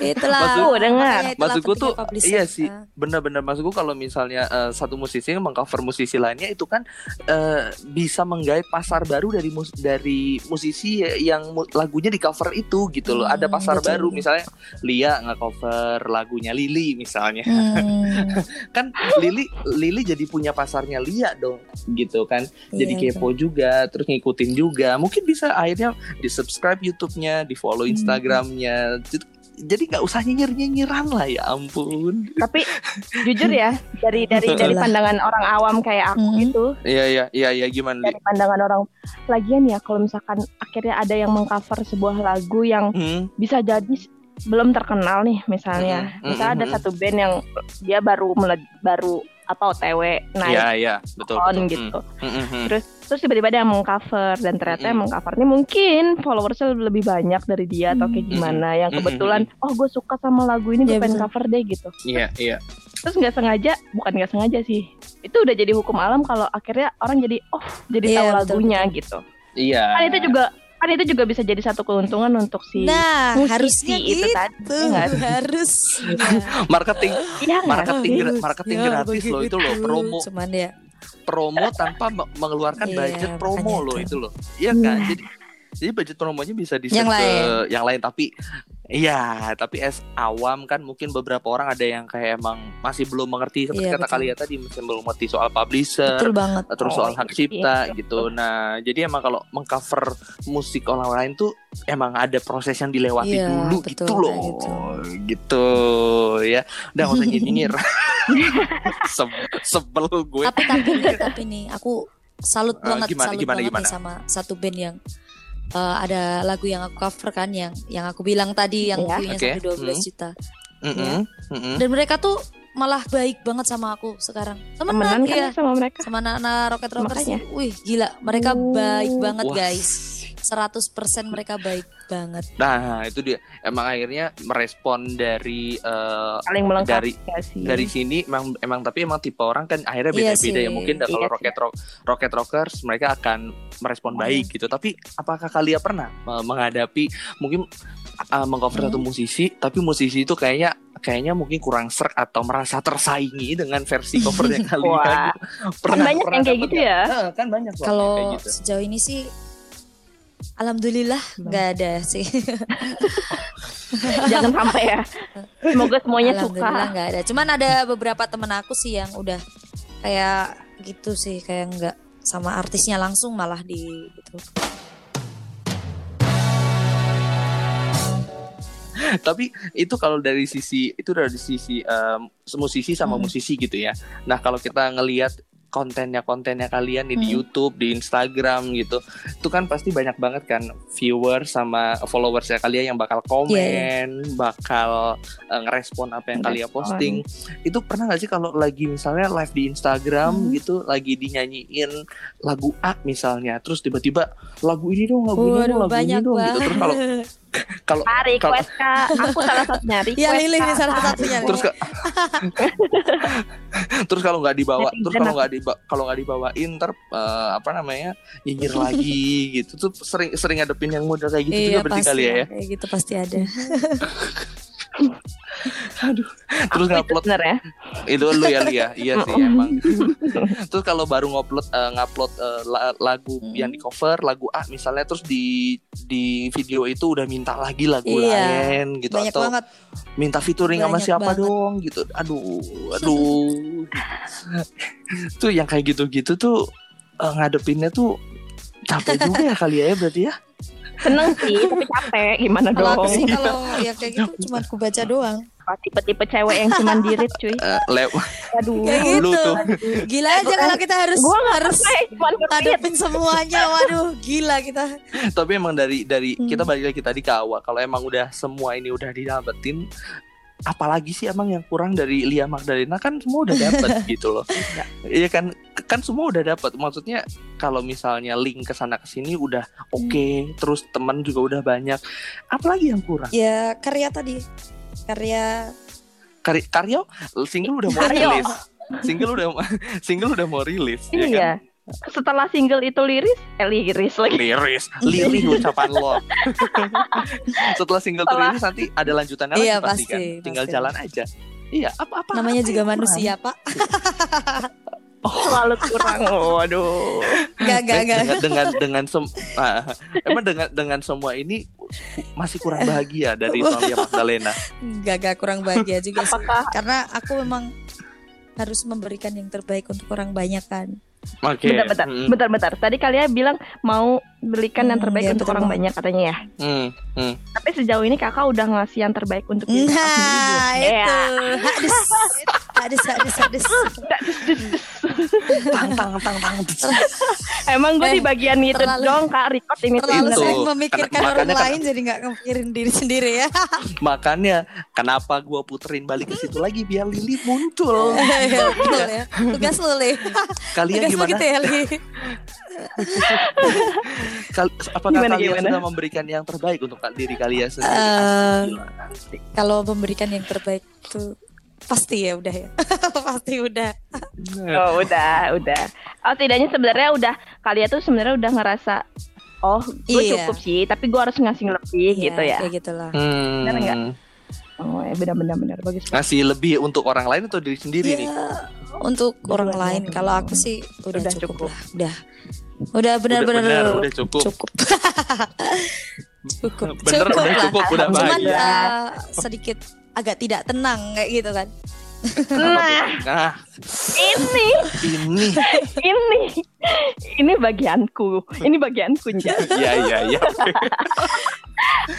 S4: Itulah.
S2: Maksud-
S3: Oh, dengar.
S4: makanya itulah
S2: Maksudku
S4: pentingnya
S2: tuh,
S4: publisher.
S2: iya sih.
S4: Ah,
S2: Benar-benar maksudku kalau misalnya eh, satu musisi yang mengcover musisi lainnya itu kan eh, bisa menggait pasar baru dari mus- dari musisi yang mu- lagunya di cover itu gitu loh. Ada
S4: Hmm,
S2: pasar
S4: betul,
S2: baru
S4: betul.
S2: misalnya Lia nge-cover lagunya Lili misalnya.
S4: hmm,
S2: Kan Lili Lili jadi punya pasarnya Lia dong gitu kan. jadi
S4: iya,
S2: kepo juga, terus ngikutin juga. Mungkin bisa akhirnya di subscribe YouTube-nya, di follow
S4: Hmm.
S2: Instagram-nya. Jadi- Jadi nggak usah nyinyir nyinyiran lah ya ampun.
S3: Tapi jujur ya dari dari dari
S4: Itulah.
S3: pandangan orang awam kayak aku
S4: Mhm.
S3: gitu,
S2: Iya iya iya iya gimana? Li?
S3: dari pandangan orang lagian ya kalau misalkan akhirnya ada yang mengcover sebuah lagu yang
S2: Hmm,
S3: bisa jadi s- belum terkenal nih misalnya.
S2: Mhm,
S3: Misalnya ada
S2: mhm.
S3: satu band yang dia baru meled- baru apa OTW
S4: Nah,
S3: naik
S2: Iya iya betul.
S3: on
S2: betul.
S3: gitu.
S2: Hmm, hmm, hmm.
S3: Terus terus tiba-tiba ada yang mengcover dan ternyata
S2: Mm-mm.
S3: yang mengcover ini mungkin followersnya lebih banyak dari dia atau kayak
S4: Mm.
S3: gimana yang
S2: Mm-mm.
S3: kebetulan oh gue suka sama lagu ini gue
S4: Iya,
S3: pengen
S4: betul.
S3: cover deh gitu.
S2: Iya iya.
S3: Terus nggak sengaja bukan nggak sengaja sih itu udah jadi hukum alam kalau akhirnya orang jadi oh jadi
S4: Iya,
S3: tahu
S4: betul,
S3: lagunya gitu.
S2: Iya.
S3: Kan itu juga kan itu juga bisa jadi satu keuntungan untuk si
S4: Nah,
S3: musisi
S4: harusnya
S3: itu
S4: gitu.
S3: tadi. nggak sih?
S4: harusnya.
S2: marketing
S4: gitu.
S3: Iya nggak
S2: marketing
S3: sih?
S2: gra- marketing
S4: Harusnya
S2: gratis loh itu loh
S4: begitu.
S2: promo
S4: Cuman ya.
S2: promo tanpa me- mengeluarkan
S4: Iya,
S2: budget promo
S4: makanya
S2: loh
S4: itu.
S2: itu loh. Iya kan? Jadi jadi budget promonya bisa di ke
S4: Yang lain.
S2: yang lain tapi iya, tapi es awam kan mungkin beberapa orang ada yang kayak emang masih belum mengerti seperti
S4: Iya,
S2: kata
S4: betul.
S2: kalian tadi masih belum mengerti soal publisher,
S4: Betul banget.
S2: terus soal
S4: iya.
S2: hak cipta gitu. Nah, jadi emang kalau mengcover musik orang lain tuh emang ada proses yang dilewati
S4: Iya,
S2: dulu
S4: betul,
S2: gitu loh.
S4: kayak
S2: Gitu.
S4: gitu.
S2: ya. Udah nggak usah nyinyir. Sebel, sebel gue.
S4: tapi tapi nih, tapi nih aku salut
S2: Eh,
S4: banget
S2: gimana,
S4: salut
S2: gimana,
S4: banget nih
S2: gimana?
S4: sama satu band yang eh, ada lagu yang aku cover kan yang yang aku bilang tadi yang
S3: Iya.
S4: view-nya
S2: Oke.
S4: sampai 12
S2: Hmm.
S4: juta
S2: Mm-mm, mm-mm.
S4: dan mereka tuh malah baik banget sama aku sekarang temenan
S3: temenan kan
S4: iya
S3: sama mereka.
S4: sama anak-anak Rocket Rockers
S3: Makanya.
S4: wih gila mereka
S3: Oh.
S4: baik banget
S2: Wah.
S4: guys 100% mereka baik banget
S2: Nah, itu dia. Emang akhirnya merespon dari eh,
S3: paling melengkapi
S2: Dari-
S3: gak sih?
S2: dari sini emang emang tapi emang tipe orang kan akhirnya
S4: Iya
S2: beda-beda ya
S4: sih.
S2: mungkin dah kalau
S3: Iya Iya. sih. Iya.
S2: rocket rock rocket rockers mereka akan merespon
S4: Hmm.
S2: baik gitu tapi apakah kalian pernah eh, menghadapi mungkin eh, mengcover
S4: Hmm.
S2: satu musisi tapi musisi itu kayaknya kayaknya mungkin kurang serk atau merasa tersaingi dengan versi covernya kalian
S3: Wah, kan banyak yang kayak
S2: dapet
S3: gitu
S2: nggak?
S3: ya.
S2: Heeh, kan banyak soalnya kayak
S4: kalau
S2: gitu.
S4: sejauh ini sih alhamdulillah nggak ada sih
S3: Jangan sampai ya. Semoga semuanya suka.
S4: Alhamdulillah nggak ada. Cuman ada beberapa temen aku sih yang udah kayak gitu sih, kayak nggak sama artisnya langsung malah di gitu.
S2: tapi itu kalau dari sisi itu dari sisi em, musisi sama
S4: Hmm.
S2: musisi gitu ya nah kalau kita ngelihat kontennya kontennya kalian nih di
S4: Hmm.
S2: YouTube di Instagram gitu itu kan pasti banyak banget kan viewers sama followers kalian yang bakal komen
S4: Iya,
S2: bakal eh, ngerespon apa yang kalian
S3: Ngerespon.
S2: posting itu pernah nggak sih kalau lagi misalnya live di Instagram
S4: Hmm.
S2: gitu lagi dinyanyiin lagu A misalnya terus tiba-tiba lagu ini dong lagu ini dong lagu ini dong gitu terus kalau kalau
S3: Ah,
S2: kalau
S3: request kak, aku salah satunya request.
S4: ya Lili ini
S3: Kak.
S4: salah satunya.
S2: terus ke- terus kalau nggak dibawa
S3: Netizen
S2: terus kalau nggak diba kalau nggak dibawain ntar eh, apa namanya nyinyir lagi gitu tuh sering sering ngadepin yang model kayak gitu juga berarti kali ya, ya?
S4: Iya, Kayak gitu pasti ada.
S2: terus
S3: Aku itu
S2: ngupload
S3: sebenarnya.
S2: itu lu ya Lia iya sih
S3: Mm-mm.
S2: emang terus kalau baru ngupload eh, ngupload eh, la- lagu
S4: Hmm.
S2: yang di cover lagu A misalnya terus di di video itu udah minta lagi lagu
S4: Iya.
S2: lain gitu
S4: Banyak
S2: atau
S4: banget.
S2: minta featuring sama
S4: Banyak
S2: siapa
S4: banget.
S2: dong gitu aduh aduh tuh yang kayak gitu-gitu tuh eh, ngadepinnya tuh capek juga ya kali ya berarti ya
S3: Seneng sih, tapi capek. Gimana dong?
S4: Kalau ya aku sih kalau yang kayak gitu cuma aku baca doang.
S3: apa tipe-tipe cewek yang cuman dirit cuy
S2: Eh, le-
S3: aduh
S4: Kayak
S2: Lu
S4: gitu.
S2: tuh.
S4: Gila aja kalau kita harus
S3: Eh, Gua nggak
S4: harus
S3: eh cuman ngerit
S4: hadapin semuanya. Waduh, gila kita.
S2: tapi emang dari dari
S4: Hmm.
S2: kita balik lagi tadi ke awal kalau emang udah semua ini udah didapetin apalagi sih emang yang kurang dari Lia Magdalena kan semua udah dapet gitu loh
S4: Ya.
S2: iya kan kan semua udah dapet maksudnya kalau misalnya link ke sana ke sini udah oke
S4: Hmm.
S2: terus teman juga udah banyak apalagi yang kurang
S4: Ya karya tadi. Karya
S2: Kari, Karyo single udah mau
S3: Karyo.
S2: rilis single udah single udah mau rilis ya kan?
S3: iya setelah single itu liris eh liris lagi
S2: liris lirih ucapan lo setelah single
S3: Setelah-
S2: terilis nanti ada lanjutannya
S4: Iya,
S2: lagi pasti, kan
S4: pasti,
S2: tinggal
S4: pasti.
S2: jalan aja iya apa apa
S4: namanya
S2: apa
S4: juga
S2: yang kurang?
S4: manusia, Pak.
S3: selalu kurang waduh
S4: Gak, gak,
S2: Oh, Eh,
S4: gak.
S2: dengan dengan dengan sem- ah, emang dengan dengan semua ini masih kurang bahagia dari Sonia Magdalena
S4: Gak, gak kurang bahagia juga sih.
S3: apakah
S4: Karena aku memang harus memberikan yang terbaik untuk orang banyak kan.
S2: oke
S3: bentar-bentar
S2: Mm,
S3: bentar-bentar tadi kalian bilang mau belikan yang
S4: Hmm,
S3: terbaik
S4: iya,
S3: untuk
S4: betul
S3: orang
S4: banget.
S3: banyak katanya ya
S2: mm, mm.
S3: tapi sejauh ini kakak udah ngasih yang terbaik untuk diri kakak sendiri
S4: Nah,
S3: belum?
S4: itu.
S3: Iya.
S2: Ya.
S4: Hadis. Hadis, hadis, hadis.
S2: tang tang tang tang
S3: Emang gue
S4: Eh,
S3: di bagian itu
S4: terlalu-
S3: dong kak record ini tuh ya.
S4: Terlalu
S2: Itu.
S4: sering memikirkan
S2: Karena-
S4: orang
S2: makanya
S4: lain jadi gak ngepikirin diri sendiri ya.
S2: makanya kenapa gua puterin balik ke situ lagi biar Lili muncul
S4: Betul ya. Tugas lu, Li.
S2: kalian
S4: Tugas lu
S2: gimana
S4: gitu ya, Li.
S2: Kal- apakah
S3: Gimana,
S2: kalian
S3: gimana?
S2: sudah memberikan yang terbaik untuk diri kalian sendiri?
S4: Eh,
S2: Gila.
S4: kalau memberikan yang terbaik tuh pasti ya udah ya pasti udah
S3: Oh udah udah Oh tidaknya sebenarnya udah Kalian tuh sebenarnya udah ngerasa Oh gue
S4: Iya.
S3: cukup sih Tapi gue harus ngasih lebih gitu ya
S4: kayak gitulah
S2: Hmm.
S3: Bener nggak? Oh ya benar-benar benar bagus banget.
S2: Ngasih lebih untuk orang lain atau diri sendiri nih?
S4: ya untuk orang
S3: Dua-duanya.
S4: lain kalau aku sih udah,
S3: Udah cukup.
S4: cukup, lah udah udah benar-benar
S2: Udah benar, udah cukup.
S4: cukup cukup
S2: Bener,
S4: cukup
S2: udah
S4: lah
S2: cukup, udah
S4: cuman
S2: bahagia.
S4: eh, sedikit agak tidak tenang kayak gitu kan
S2: Kenapa
S3: Nah
S2: tuh? Nah,
S3: ini
S2: ini.
S3: ini ini bagianku ini bagianku Nja.
S2: Iya, iya, iya.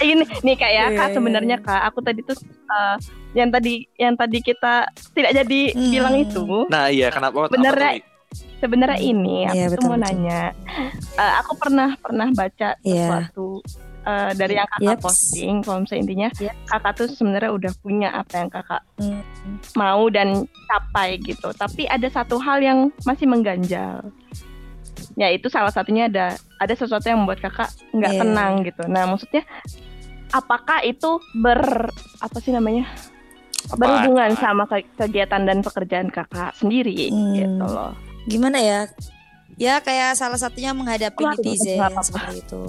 S3: ini nih kak ya
S4: Iya,
S3: kak
S4: iya,
S3: sebenarnya
S4: iya.
S3: kak aku tadi tuh eh, yang tadi yang tadi kita tidak jadi
S4: Hmm.
S3: bilang itu
S2: Nah, iya, kenapa? apa
S3: Bener,
S2: tuh,
S3: Rek.
S2: Li?
S3: sebenarnya ini aku
S4: Iya,
S3: tuh
S4: betul,
S3: mau
S4: betul.
S3: nanya Eh, aku pernah pernah baca
S4: Iya.
S3: sesuatu eh, dari yang kakak
S4: Yaps.
S3: posting kalau misalnya intinya
S4: Yaps.
S3: kakak tuh sebenarnya udah punya apa yang kakak
S4: Hmm.
S3: mau dan capai gitu tapi ada satu hal yang masih mengganjal yaitu salah satunya ada ada sesuatu yang membuat kakak nggak
S4: Iya.
S3: tenang gitu nah maksudnya apakah itu ber apa sih namanya berhubungan sama ke- kegiatan dan pekerjaan kakak sendiri
S4: Hmm.
S3: gitu loh
S4: gimana ya ya kayak salah satunya menghadapi
S3: Wah,
S4: netizen
S3: nggak apa-apa.
S4: seperti itu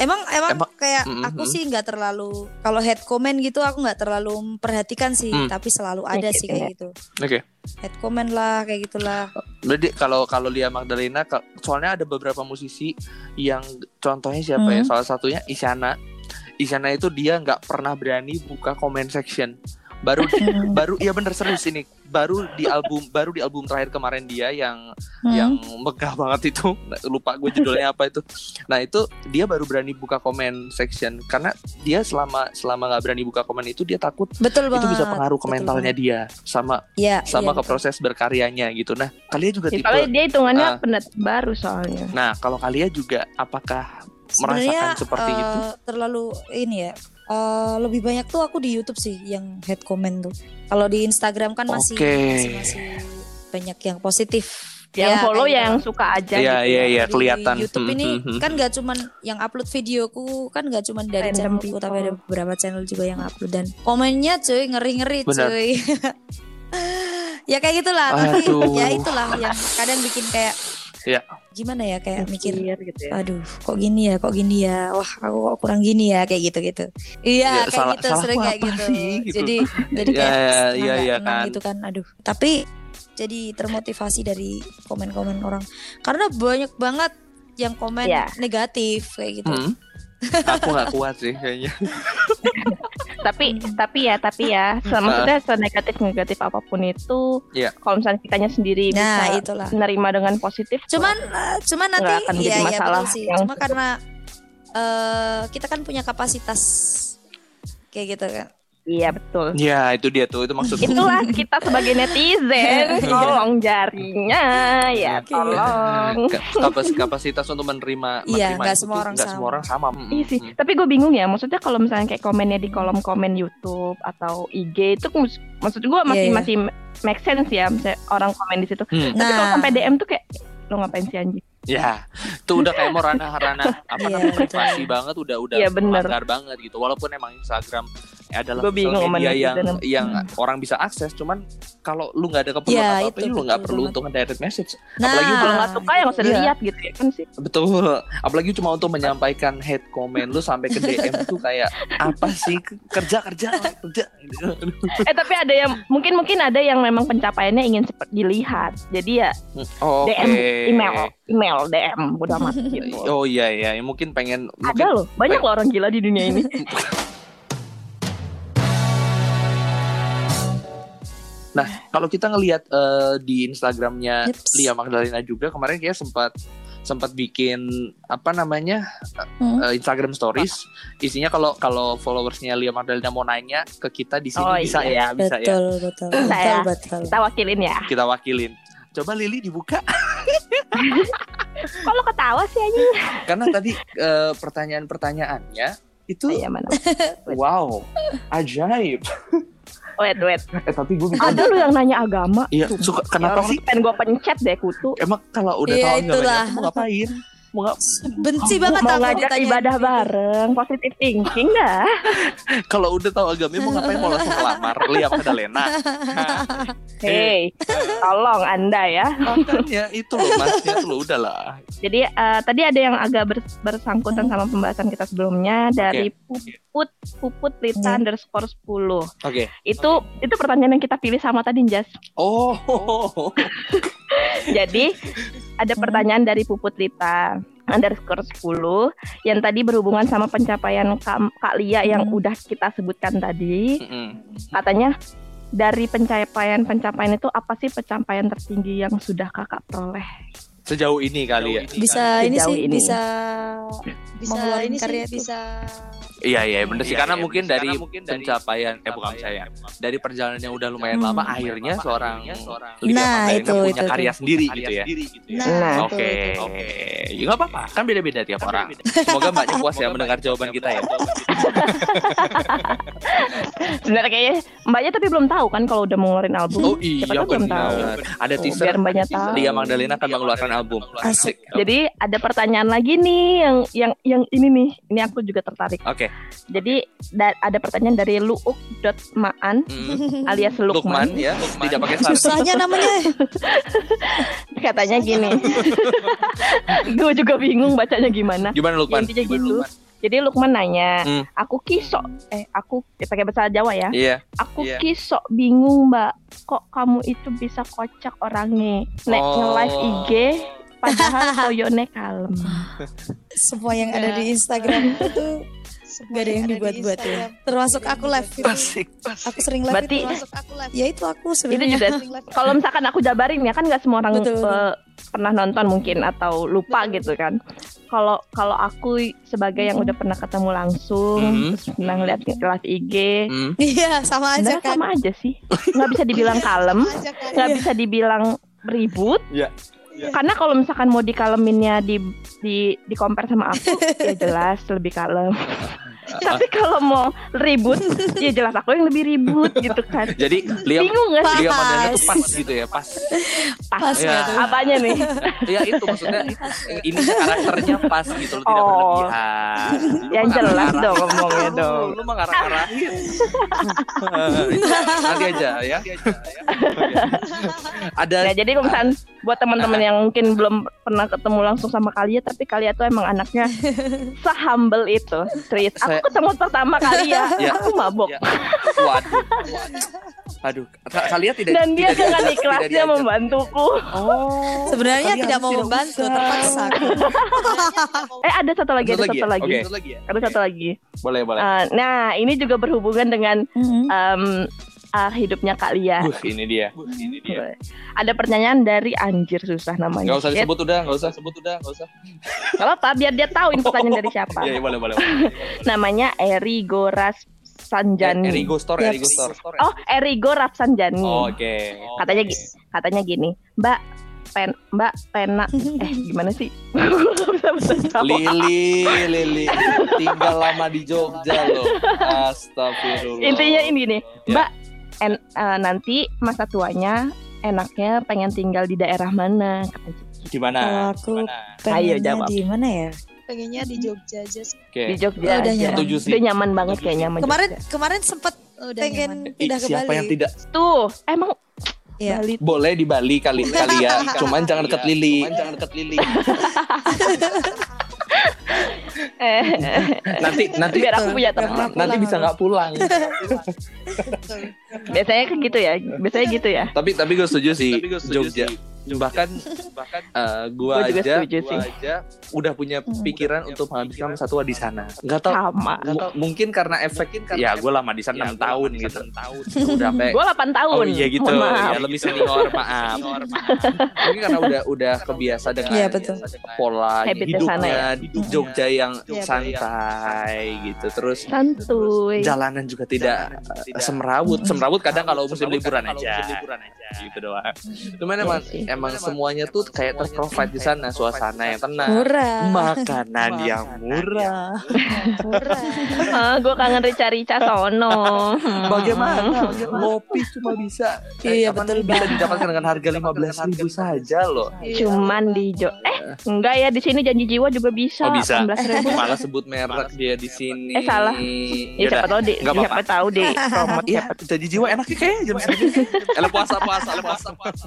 S4: emang emang,
S2: Emang-
S4: kayak
S2: Mm-mm.
S4: aku sih nggak terlalu kalau head comment gitu aku nggak terlalu memperhatikan sih
S2: Hmm.
S4: tapi selalu ada sih
S3: gitu
S4: kayak gitu
S2: Oke.
S4: head comment lah kayak gitulah
S2: Jadi kalau kalau Lia Magdalena ka- soalnya ada beberapa musisi yang contohnya siapa ya?
S4: Hmm.
S2: Salah satunya Isyana. Isyana itu dia nggak pernah berani buka comment section. Baru
S4: Hmm.
S2: baru iya bener serius ini baru di album baru di album terakhir kemarin dia yang
S4: Hmm.
S2: yang megah banget itu Nah, lupa gue judulnya apa itu nah itu dia baru berani buka komen section karena dia selama selama nggak berani buka komen itu dia takut
S4: betul banget
S2: itu bisa pengaruh ke
S4: betul
S2: mentalnya
S4: banget.
S2: dia sama
S4: ya
S2: sama
S4: iya, Ya,
S2: ke
S4: betul.
S2: proses berkaryanya gitu nah kalian juga tipe
S3: Ya, Soalnya dia hitungannya
S2: Ah.
S3: pendat baru soalnya.
S2: nah kalau kalian juga apakah
S4: Sebenarnya,
S2: merasakan seperti
S4: eh,
S2: itu?
S4: terlalu ini ya eh, lebih banyak tuh aku di YouTube sih yang head comment tuh kalau di Instagram kan masih
S2: Oke.
S4: masih, masih banyak yang positif
S3: Yang
S4: Ya,
S3: follow
S4: kayak
S3: ya
S4: gitu.
S3: yang suka aja
S2: Iya,
S3: gitu.
S2: iya, iya.
S4: kan Di
S2: kelihatan.
S4: YouTube ini
S2: Mhm.
S4: kan nggak cuman yang upload videoku kan nggak cuman dari
S3: Random
S4: channelku tapi
S3: people.
S4: ada beberapa channel juga yang upload dan komennya cuy ngeri ngeri
S2: Benar.
S4: cuy ya kayak gitulah tapi
S2: Aduh.
S4: ya itulah yang kadang bikin kayak
S2: Ya.
S4: gimana ya kayak mikir
S3: Mikir gitu ya.
S4: aduh kok gini ya kok gini ya wah aku kok kurang gini ya kayak gitu gitu iya
S2: Ya,
S4: kayak
S2: salah-
S4: gitu
S2: salah
S4: sering
S2: aku
S4: kayak
S2: apa
S4: gitu.
S2: sih, gitu.
S4: jadi jadi
S2: Ya, ya,
S4: kayak senang
S2: ya,
S4: nggak
S2: ya
S4: tenang
S2: kan.
S4: gitu kan aduh tapi jadi termotivasi dari komen-komen orang karena banyak banget yang komen
S3: Ya.
S4: negatif kayak gitu
S2: Hmm. aku nggak kuat sih kayaknya
S3: Tapi tapi ya tapi ya se- maksudnya negatif negatif apapun itu
S2: Iya.
S3: kalau misalnya kitanya sendiri
S4: nah
S3: bisa
S4: itulah
S3: menerima dengan positif
S4: cuman eh, cuman nanti
S3: Nggak akan
S4: iya
S3: jadi
S4: iya
S3: masalah
S4: betul sih
S3: yang-
S4: cuma karena eh, kita kan punya kapasitas kayak gitu kan
S3: Iya betul.
S2: Ya itu dia tuh itu maksudnya.
S3: Itulah kita sebagai
S4: Iya.
S3: netizen, tolong jarinya, ya
S4: Oke.
S3: tolong.
S2: Iya, Ka- kapas- kapasitas untuk menerima menerima
S4: Iya, nggak
S2: itu
S4: semua
S2: tuh
S4: orang
S2: nggak
S4: sama.
S2: semua orang sama. Mm,
S3: Iya sih,
S2: mm.
S3: tapi gue bingung ya. Maksudnya kalau misalnya kayak komennya di kolom komen YouTube atau IG itu, mus- maksud gue masih
S4: Iya, iya.
S3: masih make sense ya. Misalnya orang komen di situ.
S2: Hmm.
S3: Tapi kalau
S4: Nah.
S3: sampai DM tuh kayak lo ngapain sih anjing?
S2: Ya, itu udah kayak mau ranah-ranah apa
S4: Iya,
S2: namanya
S4: betul.
S2: privasi banget, udah udah
S3: Iya, bener.
S2: melanggar banget gitu. Walaupun emang Instagram adalah
S3: Gua bingung
S2: sosial
S3: sama
S2: media yang
S3: netizen.
S2: yang
S4: Hmm.
S2: orang bisa akses, cuman kalau lu nggak ada keperluan
S4: Iya,
S2: apa-apa,
S4: itu
S2: ya lu nggak
S4: betul
S2: perlu
S4: banget.
S2: untuk direct message.
S4: Nah,
S2: Apalagi
S3: Kalau nggak suka ya nggak usah
S2: Iya.
S3: dilihat gitu ya kan sih.
S2: Betul. Apalagi cuma untuk menyampaikan hate comment lu sampai ke DM tuh kayak apa sih kerja kerja kerja.
S3: Eh tapi ada yang mungkin mungkin ada yang memang pencapaiannya ingin cepat dilihat. Jadi ya
S2: Oke.
S3: DM, email, email, DM, udah amat gitu.
S2: Oh iya iya, mungkin pengen
S3: Ada
S2: mungkin
S3: loh, banyak loh orang gila di dunia ini.
S2: Nah, kalau kita ngelihat eh, di Instagramnya
S4: Yups.
S2: Lia Magdalena juga kemarin kayak sempat sempat bikin apa namanya
S4: Hmm.
S2: eh, Instagram Stories isinya kalau kalau followersnya Lia Magdalena mau nanya ke kita di sini
S3: Oh,
S2: bisa ya bisa ya
S4: betul, betul, betul,
S3: Saya.
S4: betul,
S3: Kita wakilin ya.
S2: kita wakilin coba Lili dibuka
S3: Kalau ketawa sih aja.
S2: karena tadi eh, pertanyaan-pertanyaannya itu
S3: Iya mana?
S2: wow ajaib
S3: Wait wait.
S2: eh tapi gue bisa
S3: Ada lu yang nanya agama.
S2: iya
S3: Sumpah.
S2: suka
S3: Ya
S2: kenapa
S3: orang
S2: sih
S3: tuh Pengen gue pencet deh kutu.
S2: emang kalau udah
S4: Iya,
S2: tahun nggak
S4: itulah.
S2: banyak mau ngapain mau ngap-
S4: Benci
S2: Aku
S4: banget
S3: Mau
S4: aku
S3: ngajak
S4: ditanyain
S3: ibadah
S4: gitu.
S3: bareng, positive thinking dah.
S2: kalau udah tahu agamanya mau ngapain mau langsung ngelamar Lia Magdalena Nah, Eh.
S3: Hey, tolong anda ya.
S2: Makanya itu loh masnya tuh loh udahlah.
S3: Jadi eh, tadi ada yang agak bers- bersangkutan sama pembahasan kita sebelumnya dari puput puput lita
S4: Hmm.
S3: underscore 10.
S2: Oke.
S3: Itu itu pertanyaan yang kita pilih sama tadi Jas.
S2: Oh.
S3: Jadi ada
S4: Hmm.
S3: pertanyaan dari puput lita underscore 10 yang tadi berhubungan sama pencapaian Kak, Kak Lia yang
S4: Hmm.
S3: udah kita sebutkan tadi.
S2: Mm-mm.
S3: Katanya dari pencapaian-pencapaian itu apa sih pencapaian tertinggi yang sudah Kakak peroleh?
S2: Sejauh ini kali ya.
S4: Bisa ini
S3: Sejauh
S4: sih,
S3: ini.
S4: bisa
S5: bisa
S4: Mengeluarkan
S5: ini
S4: karya
S5: sih
S4: itu.
S5: bisa
S2: Iya iya bener sih
S6: Iya,
S2: karena
S6: iya,
S2: mungkin
S6: bener sih.
S2: dari
S6: Karena mungkin dari
S2: pencapaian eh bukan saya
S6: pencapaian,
S2: dari perjalanan yang udah lumayan
S4: Hmm.
S2: lama akhirnya seorang
S6: seorang
S2: Lia
S4: Nah,
S2: Magdalena
S4: itu,
S2: punya
S4: itu, itu.
S2: karya sendiri
S6: karya
S2: gitu ya.
S6: sendiri gitu ya.
S3: Nah.
S4: Nah,
S2: Oke.
S4: betul,
S2: Oke. Ya nggak apa-apa. Kan beda-beda tiap orang. Semoga mbaknya puas ya mendengar jawaban kita ya.
S3: Sebenarnya kayaknya mbaknya tapi belum tahu kan kalau udah mau ngeluarin album.
S2: Oh iya
S3: Siapa tahu belum tahu.
S2: benar. Ada
S3: Tuh,
S2: teaser
S3: Oh, biar mbaknya tahu.
S2: Lia Magdalena akan mengeluarkan album.
S4: Oh. Asik.
S3: Jadi ada pertanyaan lagi nih yang yang yang ini nih. Ini aku juga tertarik.
S2: Oke.
S3: Jadi da- ada pertanyaan dari luuk.maan
S2: Mm.
S3: alias
S2: Lukman
S3: Lukman.
S2: ya, tidak pakai sarung.
S4: Susahnya namanya.
S3: Katanya gini. Gue juga bingung bacanya gimana.
S2: Gimana Lukman?
S3: Intinya gitu. Jadi Lukman nanya,
S2: Hmm.
S3: "Aku kisok eh aku eh, pakai bahasa Jawa ya.
S2: Iya.
S3: Aku
S2: Iya.
S3: kisok bingung, Mbak. Kok kamu itu bisa kocak orangnya? Nek
S2: Oh.
S3: nge-live IG padahal toyone kalem."
S4: Semua yang ada di Instagram itu Gak ada yang dibuat-buat ya. termasuk aku live itu.
S2: Asik.
S4: Aku sering live
S3: Berarti-
S4: itu. termasuk-
S5: Termasuk aku live.
S4: Ya itu aku
S3: Itu
S4: sebenarnya.
S3: juga
S5: ya.
S3: kalau misalkan aku jabarin ya kan nggak semua orang
S4: Betul,
S3: eh,
S4: betul.
S3: pernah nonton mungkin atau lupa gitu kan. Kalau kalau aku sebagai yang udah pernah ketemu langsung,
S2: Mhm.
S3: terus pernah ngeliat kelas IG,
S2: Hmm.
S4: Iya, sama
S3: sebenarnya
S4: aja kan. Iya.
S3: sama aja sih. Nggak bisa dibilang kalem,
S5: Ajak kan.
S3: nggak bisa dibilang ribut.
S2: Iya.
S5: Iya.
S3: Karena kalau misalkan mau dikaleminnya di di di compare sama aku, ya jelas lebih kalem. Tapi kalau mau ribut, ya jelas aku yang lebih ribut gitu kan.
S2: Jadi Lia
S3: Bingung nggak sih?
S2: Lia
S4: Pas.
S2: Madana tuh pas gitu ya, pas.
S4: Pas
S2: Iya.
S4: gitu.
S3: Apanya nih?
S2: Ya itu maksudnya ini karakternya pas gitu loh, tidak
S3: Oh.
S2: berlebihan. Lu
S3: Yang
S2: mah
S3: Ya, jelas
S2: ngarang-ngarang.
S3: dong ngomongnya dong.
S2: Lu mah ngarang-ngarahin. Nanti aja ya. Ada
S3: Ya, jadi kalau misalkan buat teman-teman yang mungkin belum pernah ketemu langsung sama Kalia tapi Kalia tuh emang anaknya sehumble itu. Serius, aku
S2: Saya-
S3: ketemu pertama Kalia,
S2: Ya.
S3: aku mabok
S2: Ya. Waduh. Aduh, Ka- kalian tidak
S3: dan dia
S2: tidak diajak,
S3: dengan
S2: tidak
S3: ikhlasnya
S2: diajak.
S3: membantuku.
S2: Oh.
S4: Sebenarnya
S2: kalian
S4: tidak mau
S2: tidak
S4: membantu,
S2: usah.
S4: terpaksa.
S3: Eh ada satu lagi, ada
S2: Satu
S3: satu
S2: ya?
S3: lagi.
S2: Oke. Satu lagi ya?
S3: Ada satu lagi.
S2: Boleh, boleh.
S3: Eh, nah, ini juga berhubungan dengan
S4: Mm-mm.
S3: em, ah, hidupnya Kalia.
S2: Wuh, ini dia. ini dia.
S3: Ada pertanyaan dari anjir susah namanya.
S2: Gak usah
S3: Ya,
S2: disebut udah, gak usah sebut udah, gak usah.
S3: nggak apa-apa, biar dia tahu ini pertanyaan dari siapa.
S2: Iya, iya, boleh, boleh.
S3: Namanya Eri Goras Rapsanjani.
S2: Eh, Erigo Store,
S4: Yes.
S2: Erigo Store.
S3: Oh, Erigo Rapsanjani.
S2: Oh, Oke.
S3: Katanya gitu. gi- katanya gini, Mbak pen Mbak pena eh gimana sih? Gua nggak bisa jawab.
S2: Lili, Lili, tinggal lama di Jogja loh. Astagfirullah.
S3: Intinya ini nih,
S2: Ya.
S3: Mbak en- eh, nanti masa tuanya enaknya pengen tinggal di daerah mana? Kata dia.
S4: Kalau
S2: Gimana?
S4: aku
S2: Gimana?
S4: pengennya
S3: jawab.
S4: di mana ya?
S5: pengennya di Jogja aja sih.
S3: Di
S2: Oke.
S3: Jogja.
S4: Udah
S3: aja.
S4: nyaman.
S2: Setuju sih.
S3: Dia nyaman banget kayaknya sama
S4: Kemarin
S3: Jogja.
S4: kemarin sempet
S5: Oh, Udah
S4: pengen
S5: nyaman.
S2: Ih,
S4: pindah ke
S2: siapa
S4: Bali.
S2: yang tidak
S3: tuh emang
S4: Iya.
S3: Bali
S2: boleh di Bali kali kali ya. Cuman jangan deket Lili.
S6: Iya. Cuman jangan deket Lili.
S3: eh,
S2: Nanti nanti
S3: biar aku punya teman.
S4: Biar-
S2: nanti bisa nggak pulang.
S5: Betul.
S3: Biasanya kan gitu ya, biasanya gitu ya.
S2: tapi tapi gue setuju sih
S6: Tapi gue setuju
S2: Jogja.
S6: sih.
S2: Bahkan bahkan eh, gue
S3: Gua juga
S2: aja
S3: setuju
S2: gua
S3: sih.
S2: aja udah punya
S4: Hmm.
S2: pikiran untuk menghabiskan satwa di sana. Nggak tahu
S3: Sama.
S2: Mu- mungkin karena efek ya gue lama di sana enam tahun gitu tahun udah sampai
S3: Gue 8 tahun.
S2: oh iya gitu
S3: Mohon maaf.
S2: ya lebih senior maaf mungkin karena udah udah kebiasa Nah, dengan
S4: Iya, betul.
S2: pola
S3: Habitnya
S2: hidupnya
S3: sana ya.
S2: di Jogja yang
S5: Iya,
S2: santai gitu terus
S3: Iya, Santuy.
S2: jalanan juga tidak eh, semrawut semrawut kadang kalau musim liburan aja gitu doang cuman
S3: Iya
S2: emang
S3: sih.
S2: emang semuanya tuh kayak terprovide di sana suasana yang tenang
S4: Murah.
S2: makanan yang murah
S5: Murah.
S3: gue kangen rica-rica sono. Hmm.
S2: Bagaimana? Ngopi cuma bisa eh,
S4: Iya,
S2: apa
S4: betul
S2: namanya, bisa
S4: banget.
S2: didapatkan dengan harga lima belas ribu saja loh.
S3: Cuman di Jo eh enggak ya di sini janji jiwa juga bisa.
S2: Oh, bisa.
S3: 18.000.
S2: Malah sebut merek dia di sini.
S3: Eh, salah. Ya
S2: Yaudah.
S3: siapa tahu di
S2: nggak apa-apa.
S3: siapa tahu di promote
S2: Iya,
S3: siapa-
S2: jadi jiwa enaknya kayaknya jam segini. Kalau puasa puasa, kalau puasa puasa.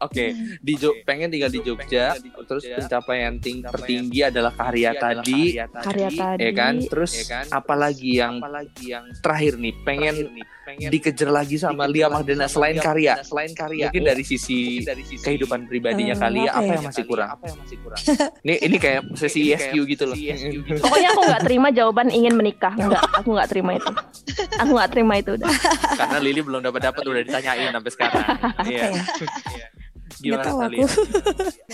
S2: Oke, di Jo- pengen tinggal di Jogja, terus pencapaian ting- tertinggi Iya, adalah karya tadi,
S3: karya tadi.
S2: ya kan? Terus apalagi yang terakhir nih, pengen dikejar lagi sama Lia Magdalena selain karya, selain karya. Mungkin dari sisi kehidupan pribadinya
S6: Eh,
S4: Hmm,
S2: kali ya,
S4: apa
S2: apa
S4: ya?
S2: yang masih kurang? Ini ini kayak sesi ISQ gitu loh.
S3: Pokoknya aku nggak terima jawaban ingin menikah. Enggak, aku nggak terima itu. Aku nggak terima itu udah.
S2: Karena Lili belum dapat dapat udah ditanyain sampai sekarang. Iya.
S4: ya?
S2: Iya.
S4: Nggak
S2: Gimana ya?
S4: tahu
S2: kali?
S4: aku.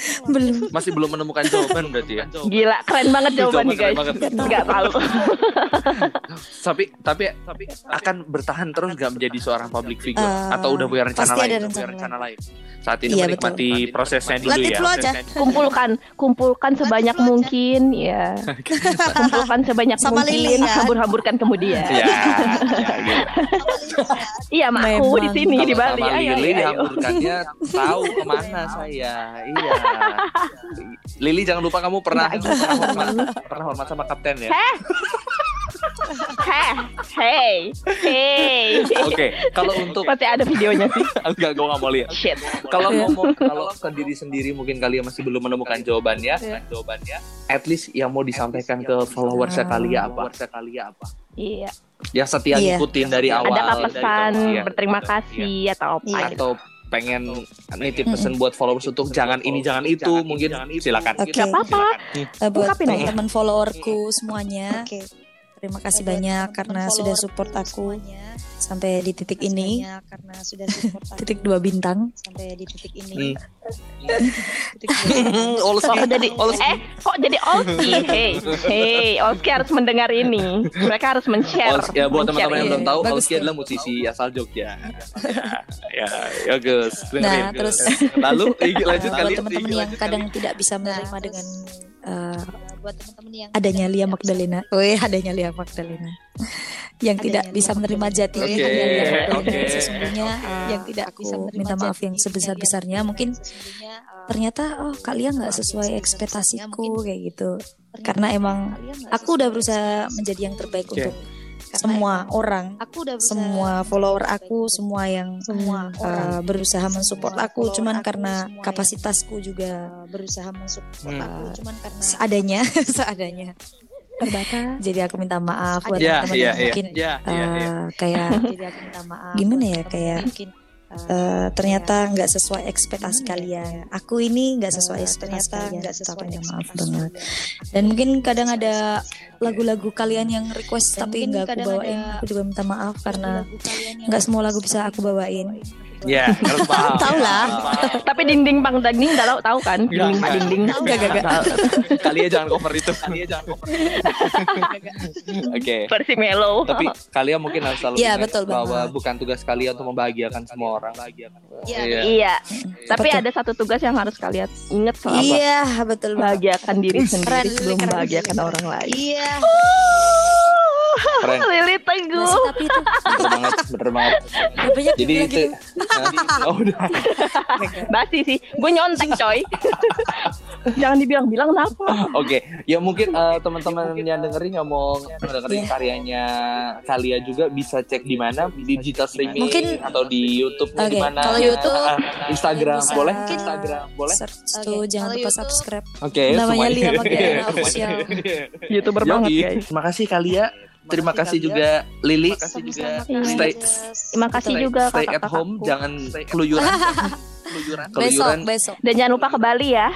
S4: Belum.
S2: Masih belum menemukan jawaban berarti ya.
S3: Gila, keren banget jawaban nih
S2: keren
S3: guys.
S2: banget.
S3: Enggak tahu.
S2: Tapi tapi tapi akan bertahan terus gak menjadi seorang public figure
S4: Eh,
S2: atau udah punya rencana
S4: pasti ada
S2: lain?
S4: rencana
S2: Punya lain. Saat ini
S4: Iya,
S2: menikmati prosesnya dulu
S4: Let's
S2: ya.
S4: flow aja.
S3: Kumpulkan, kumpulkan sebanyak
S5: Lanjut,
S3: mungkin ya. Kumpulkan sebanyak
S4: Sama
S3: mungkin,
S4: Lili, ya.
S3: habur-haburkan kemudian.
S2: Ya, ya, gitu.
S3: Iya, mak aku di
S4: Memang.
S3: sini di Bali.
S2: Sama Lili
S3: Ayo, ayo, ayo.
S2: dihamburkannya tahu kemana saya. Iya. Lili jangan lupa kamu pernah
S3: Nggak,
S2: pernah hormat, pernah hormat sama kapten ya.
S3: Heh, hey, hey.
S2: Oke, kalau untuk
S3: Pasti ada videonya sih.
S2: enggak gue nggak mau lihat.
S3: Shit.
S2: Kalau
S4: Iya.
S2: ngomong kalau ke diri sendiri mungkin kalian masih belum menemukan jawabannya.
S5: Iya.
S2: Jawabannya at least yang mau disampaikan ke followers kalian apa? kalian ya, apa?
S3: Iya.
S2: Yang setia
S4: Iya.
S2: ngikutin dari awal.
S3: Ada apa
S2: dari
S3: pesan
S2: awal. Iya.
S3: berterima
S2: Iya.
S3: kasih atau apa
S4: Iya.
S3: gitu.
S2: Atau pengen nitip pesan buat followers untuk jangan ini jangan itu mungkin silakan.
S4: Oke.
S3: Gak apa-apa.
S4: Eh, buat
S3: Ungkapin aja.
S4: teman-teman followerku semuanya.
S5: Oke.
S4: Terima kasih banyak karena sudah support aku sampai di titik ini.
S5: karena sudah support aku.
S4: Titik dua bintang.
S5: sampai di titik
S2: Hmm.
S5: ini. Titik dua.
S3: Kok jadi eh kok jadi Olski? Hey, hey, Olski harus mendengar ini. Mereka harus men-share.
S2: Ols- ya buat teman-teman
S3: men-share
S2: yang
S4: iya.
S3: ini.
S2: belum tahu,
S4: Bagus
S2: Olski
S4: tuh.
S2: adalah musisi asal Jogja. ya, ya, ya Gus. Dengerin,
S4: Nah,
S2: Gus.
S4: terus
S2: lalu ih,
S4: eh,
S2: lanjut
S4: buat
S2: kalian.
S4: teman-teman
S2: Ih,
S4: yang
S2: lanjut
S4: kadang
S2: kalian.
S4: tidak bisa menerima
S5: Nah,
S4: dengan
S5: terus-
S4: eh,
S5: buat teman-teman yang
S4: adanya Lia Magdalena. Oh adanya Lia Magdalena. Yang
S5: Adanya
S4: tidak
S5: Lia
S4: bisa menerima jati
S2: Oke,
S4: diri hanya Lia Magdalena.
S2: oke,
S4: Sesungguhnya
S2: oke.
S4: eh, yang tidak aku
S5: bisa menerima
S4: minta maaf
S5: jati
S4: yang
S5: dirinya,
S4: sebesar-besarnya
S5: yang
S4: mungkin
S5: sesungguhnya, eh,
S4: ternyata oh kalian nggak sesuai
S5: Sebesar-besarnya
S4: ekspektasiku
S5: mungkin
S4: kayak gitu.
S5: ternyata
S4: karena emang
S5: kalian nggak
S4: Aku udah
S5: sesuai
S4: berusaha
S5: ekspektasi.
S4: menjadi yang terbaik
S2: Oke.
S4: untuk semua
S5: emang-
S4: orang,
S5: aku udah berusaha
S4: semua
S5: menjadi
S4: follower
S5: yang terbaik
S4: aku,
S5: untuk
S4: semua yang
S5: semua
S4: eh,
S5: orang
S4: berusaha
S5: Semua
S4: mensupport aku
S5: follower
S4: cuman
S5: aku,
S4: karena
S5: semua yang-
S4: kapasitasku juga
S5: eh, berusaha mensupport
S2: Hmm.
S5: aku cuman karena
S4: seadanya, seadanya.
S3: terbatas.
S4: Jadi aku minta maaf buat
S2: Ya, iya,
S4: teman-teman yang
S2: iya.
S4: mungkin
S2: Ya, ya, ya.
S4: eh, kayak
S5: jadi aku minta
S4: Gimana
S5: maaf buat
S4: ya,
S5: teman-teman
S4: kayak,
S5: mungkin eh,
S4: eh, ternyata nggak sesuai ekspektasi
S5: Gimana ya,
S4: kalian. Aku ini nggak sesuai
S5: eh,
S4: ekspektasi
S5: ternyata
S4: kalian.
S5: nggak
S4: Aku
S5: sesuai
S4: minta maaf
S5: ekspektasi
S4: banget.
S5: kalian.
S4: Dan mungkin kadang ada
S5: Ekspektasi
S4: lagu-lagu kalian yang request
S5: Dan
S4: tapi
S5: mungkin
S4: nggak aku
S5: kadang
S4: bawain.
S5: ada Iya.
S4: Aku juga minta maaf karena
S5: lagu kalian yang
S4: nggak semua lagu
S5: request
S4: bisa
S5: tapi
S4: aku bawain.
S5: nggak aku
S2: Ya, harus paham.
S6: Tahu lah.
S2: Paham.
S3: Tapi dinding Bang Dagning enggak tahu tahu kan?
S2: Iya,
S3: Dinding Pak Dinding.
S4: Tahu enggak, enggak, enggak.
S2: Kalian jangan cover itu. Kalian jangan cover. itu. Oke.
S3: Versi Melo.
S2: Tapi kalian mungkin harus selalu
S4: Iya,
S2: ingat
S4: betul
S2: bahwa
S4: banget.
S2: bukan tugas kalian untuk membahagiakan semua orang.
S5: Iya.
S3: Iya, tapi
S4: Betul.
S3: ada satu tugas yang harus kalian ingat selama
S4: Iya, betul banget.
S3: bahagiakan diri
S4: Wih,
S3: sendiri
S4: keren,
S3: sebelum
S4: keren.
S3: membahagiakan orang lain.
S5: Iya.
S2: Keren,
S3: Lili
S4: Masih
S3: teguh.
S4: Iya, tapi itu
S2: bener banget, bener banget.
S4: banyak
S2: Jadi
S4: juga
S2: itu,
S4: gitu.
S2: Nah, oh, udah.
S3: Basi sih, gue nyontek coy. Jangan dibilang-bilang kenapa.
S2: Oke, ya mungkin eh, teman-teman yang dengerin nggak mau dengerin
S4: Iya.
S2: karyanya kalian juga bisa cek di mana di digital streaming
S4: Mungkin-
S2: atau di YouTube
S4: Oke,
S2: di mana
S4: kalau YouTube,
S2: Ah, Instagram
S4: bisa-
S2: boleh Instagram boleh
S4: Search
S5: Oke,
S4: tuh, jangan
S5: kalau
S4: lupa
S5: YouTube,
S4: subscribe.
S2: oke
S4: Namanya
S2: semuanya.
S4: Lia Magdalena Official.
S3: Youtuber
S2: Yoi.
S3: banget Gitu, guys.
S2: Terima kasih Kalia, terima kasih juga Lili.
S5: Sama-sama,
S3: juga
S5: Kak.
S2: stay-
S5: Yes.
S3: Terima kasih
S2: Stay-
S3: juga
S2: Stay at home,
S3: kakak-kakakku.
S2: jangan keluyuran. keluyuran.
S4: Besok,
S2: Keluyuran
S4: besok.
S3: Dan jangan lupa ke Bali ya.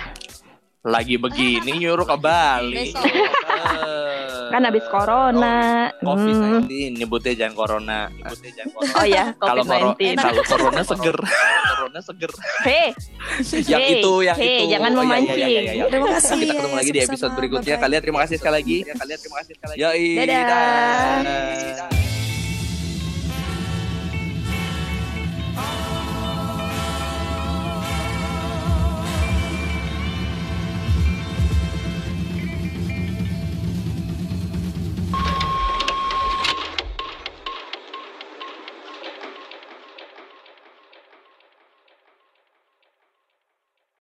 S2: lagi begini nyuruh ke Bali.
S5: Besok.
S2: Eh,
S3: Kan habis corona. Hmm.
S2: COVID-19 nyebutnya jangan corona. Nyebutnya jangan corona.
S3: Oh ya,
S2: Kalau corona,
S3: COVID-19.
S2: kalau corona seger. corona seger.
S3: Hei,
S2: yang
S3: Hey,
S2: itu, yang
S3: hey,
S2: itu.
S3: jangan
S2: Oh, iya, iya,
S3: memancing.
S2: iya, iya, iya.
S4: Terima kasih,
S2: Kita ketemu
S4: ya,
S2: lagi di
S4: sama-sama.
S2: episode berikutnya.
S4: Bye-bye.
S2: Kalian terima kasih sekali lagi. Kalian terima kasih sekali lagi. Yoi.
S3: Dadah.
S2: Dadah.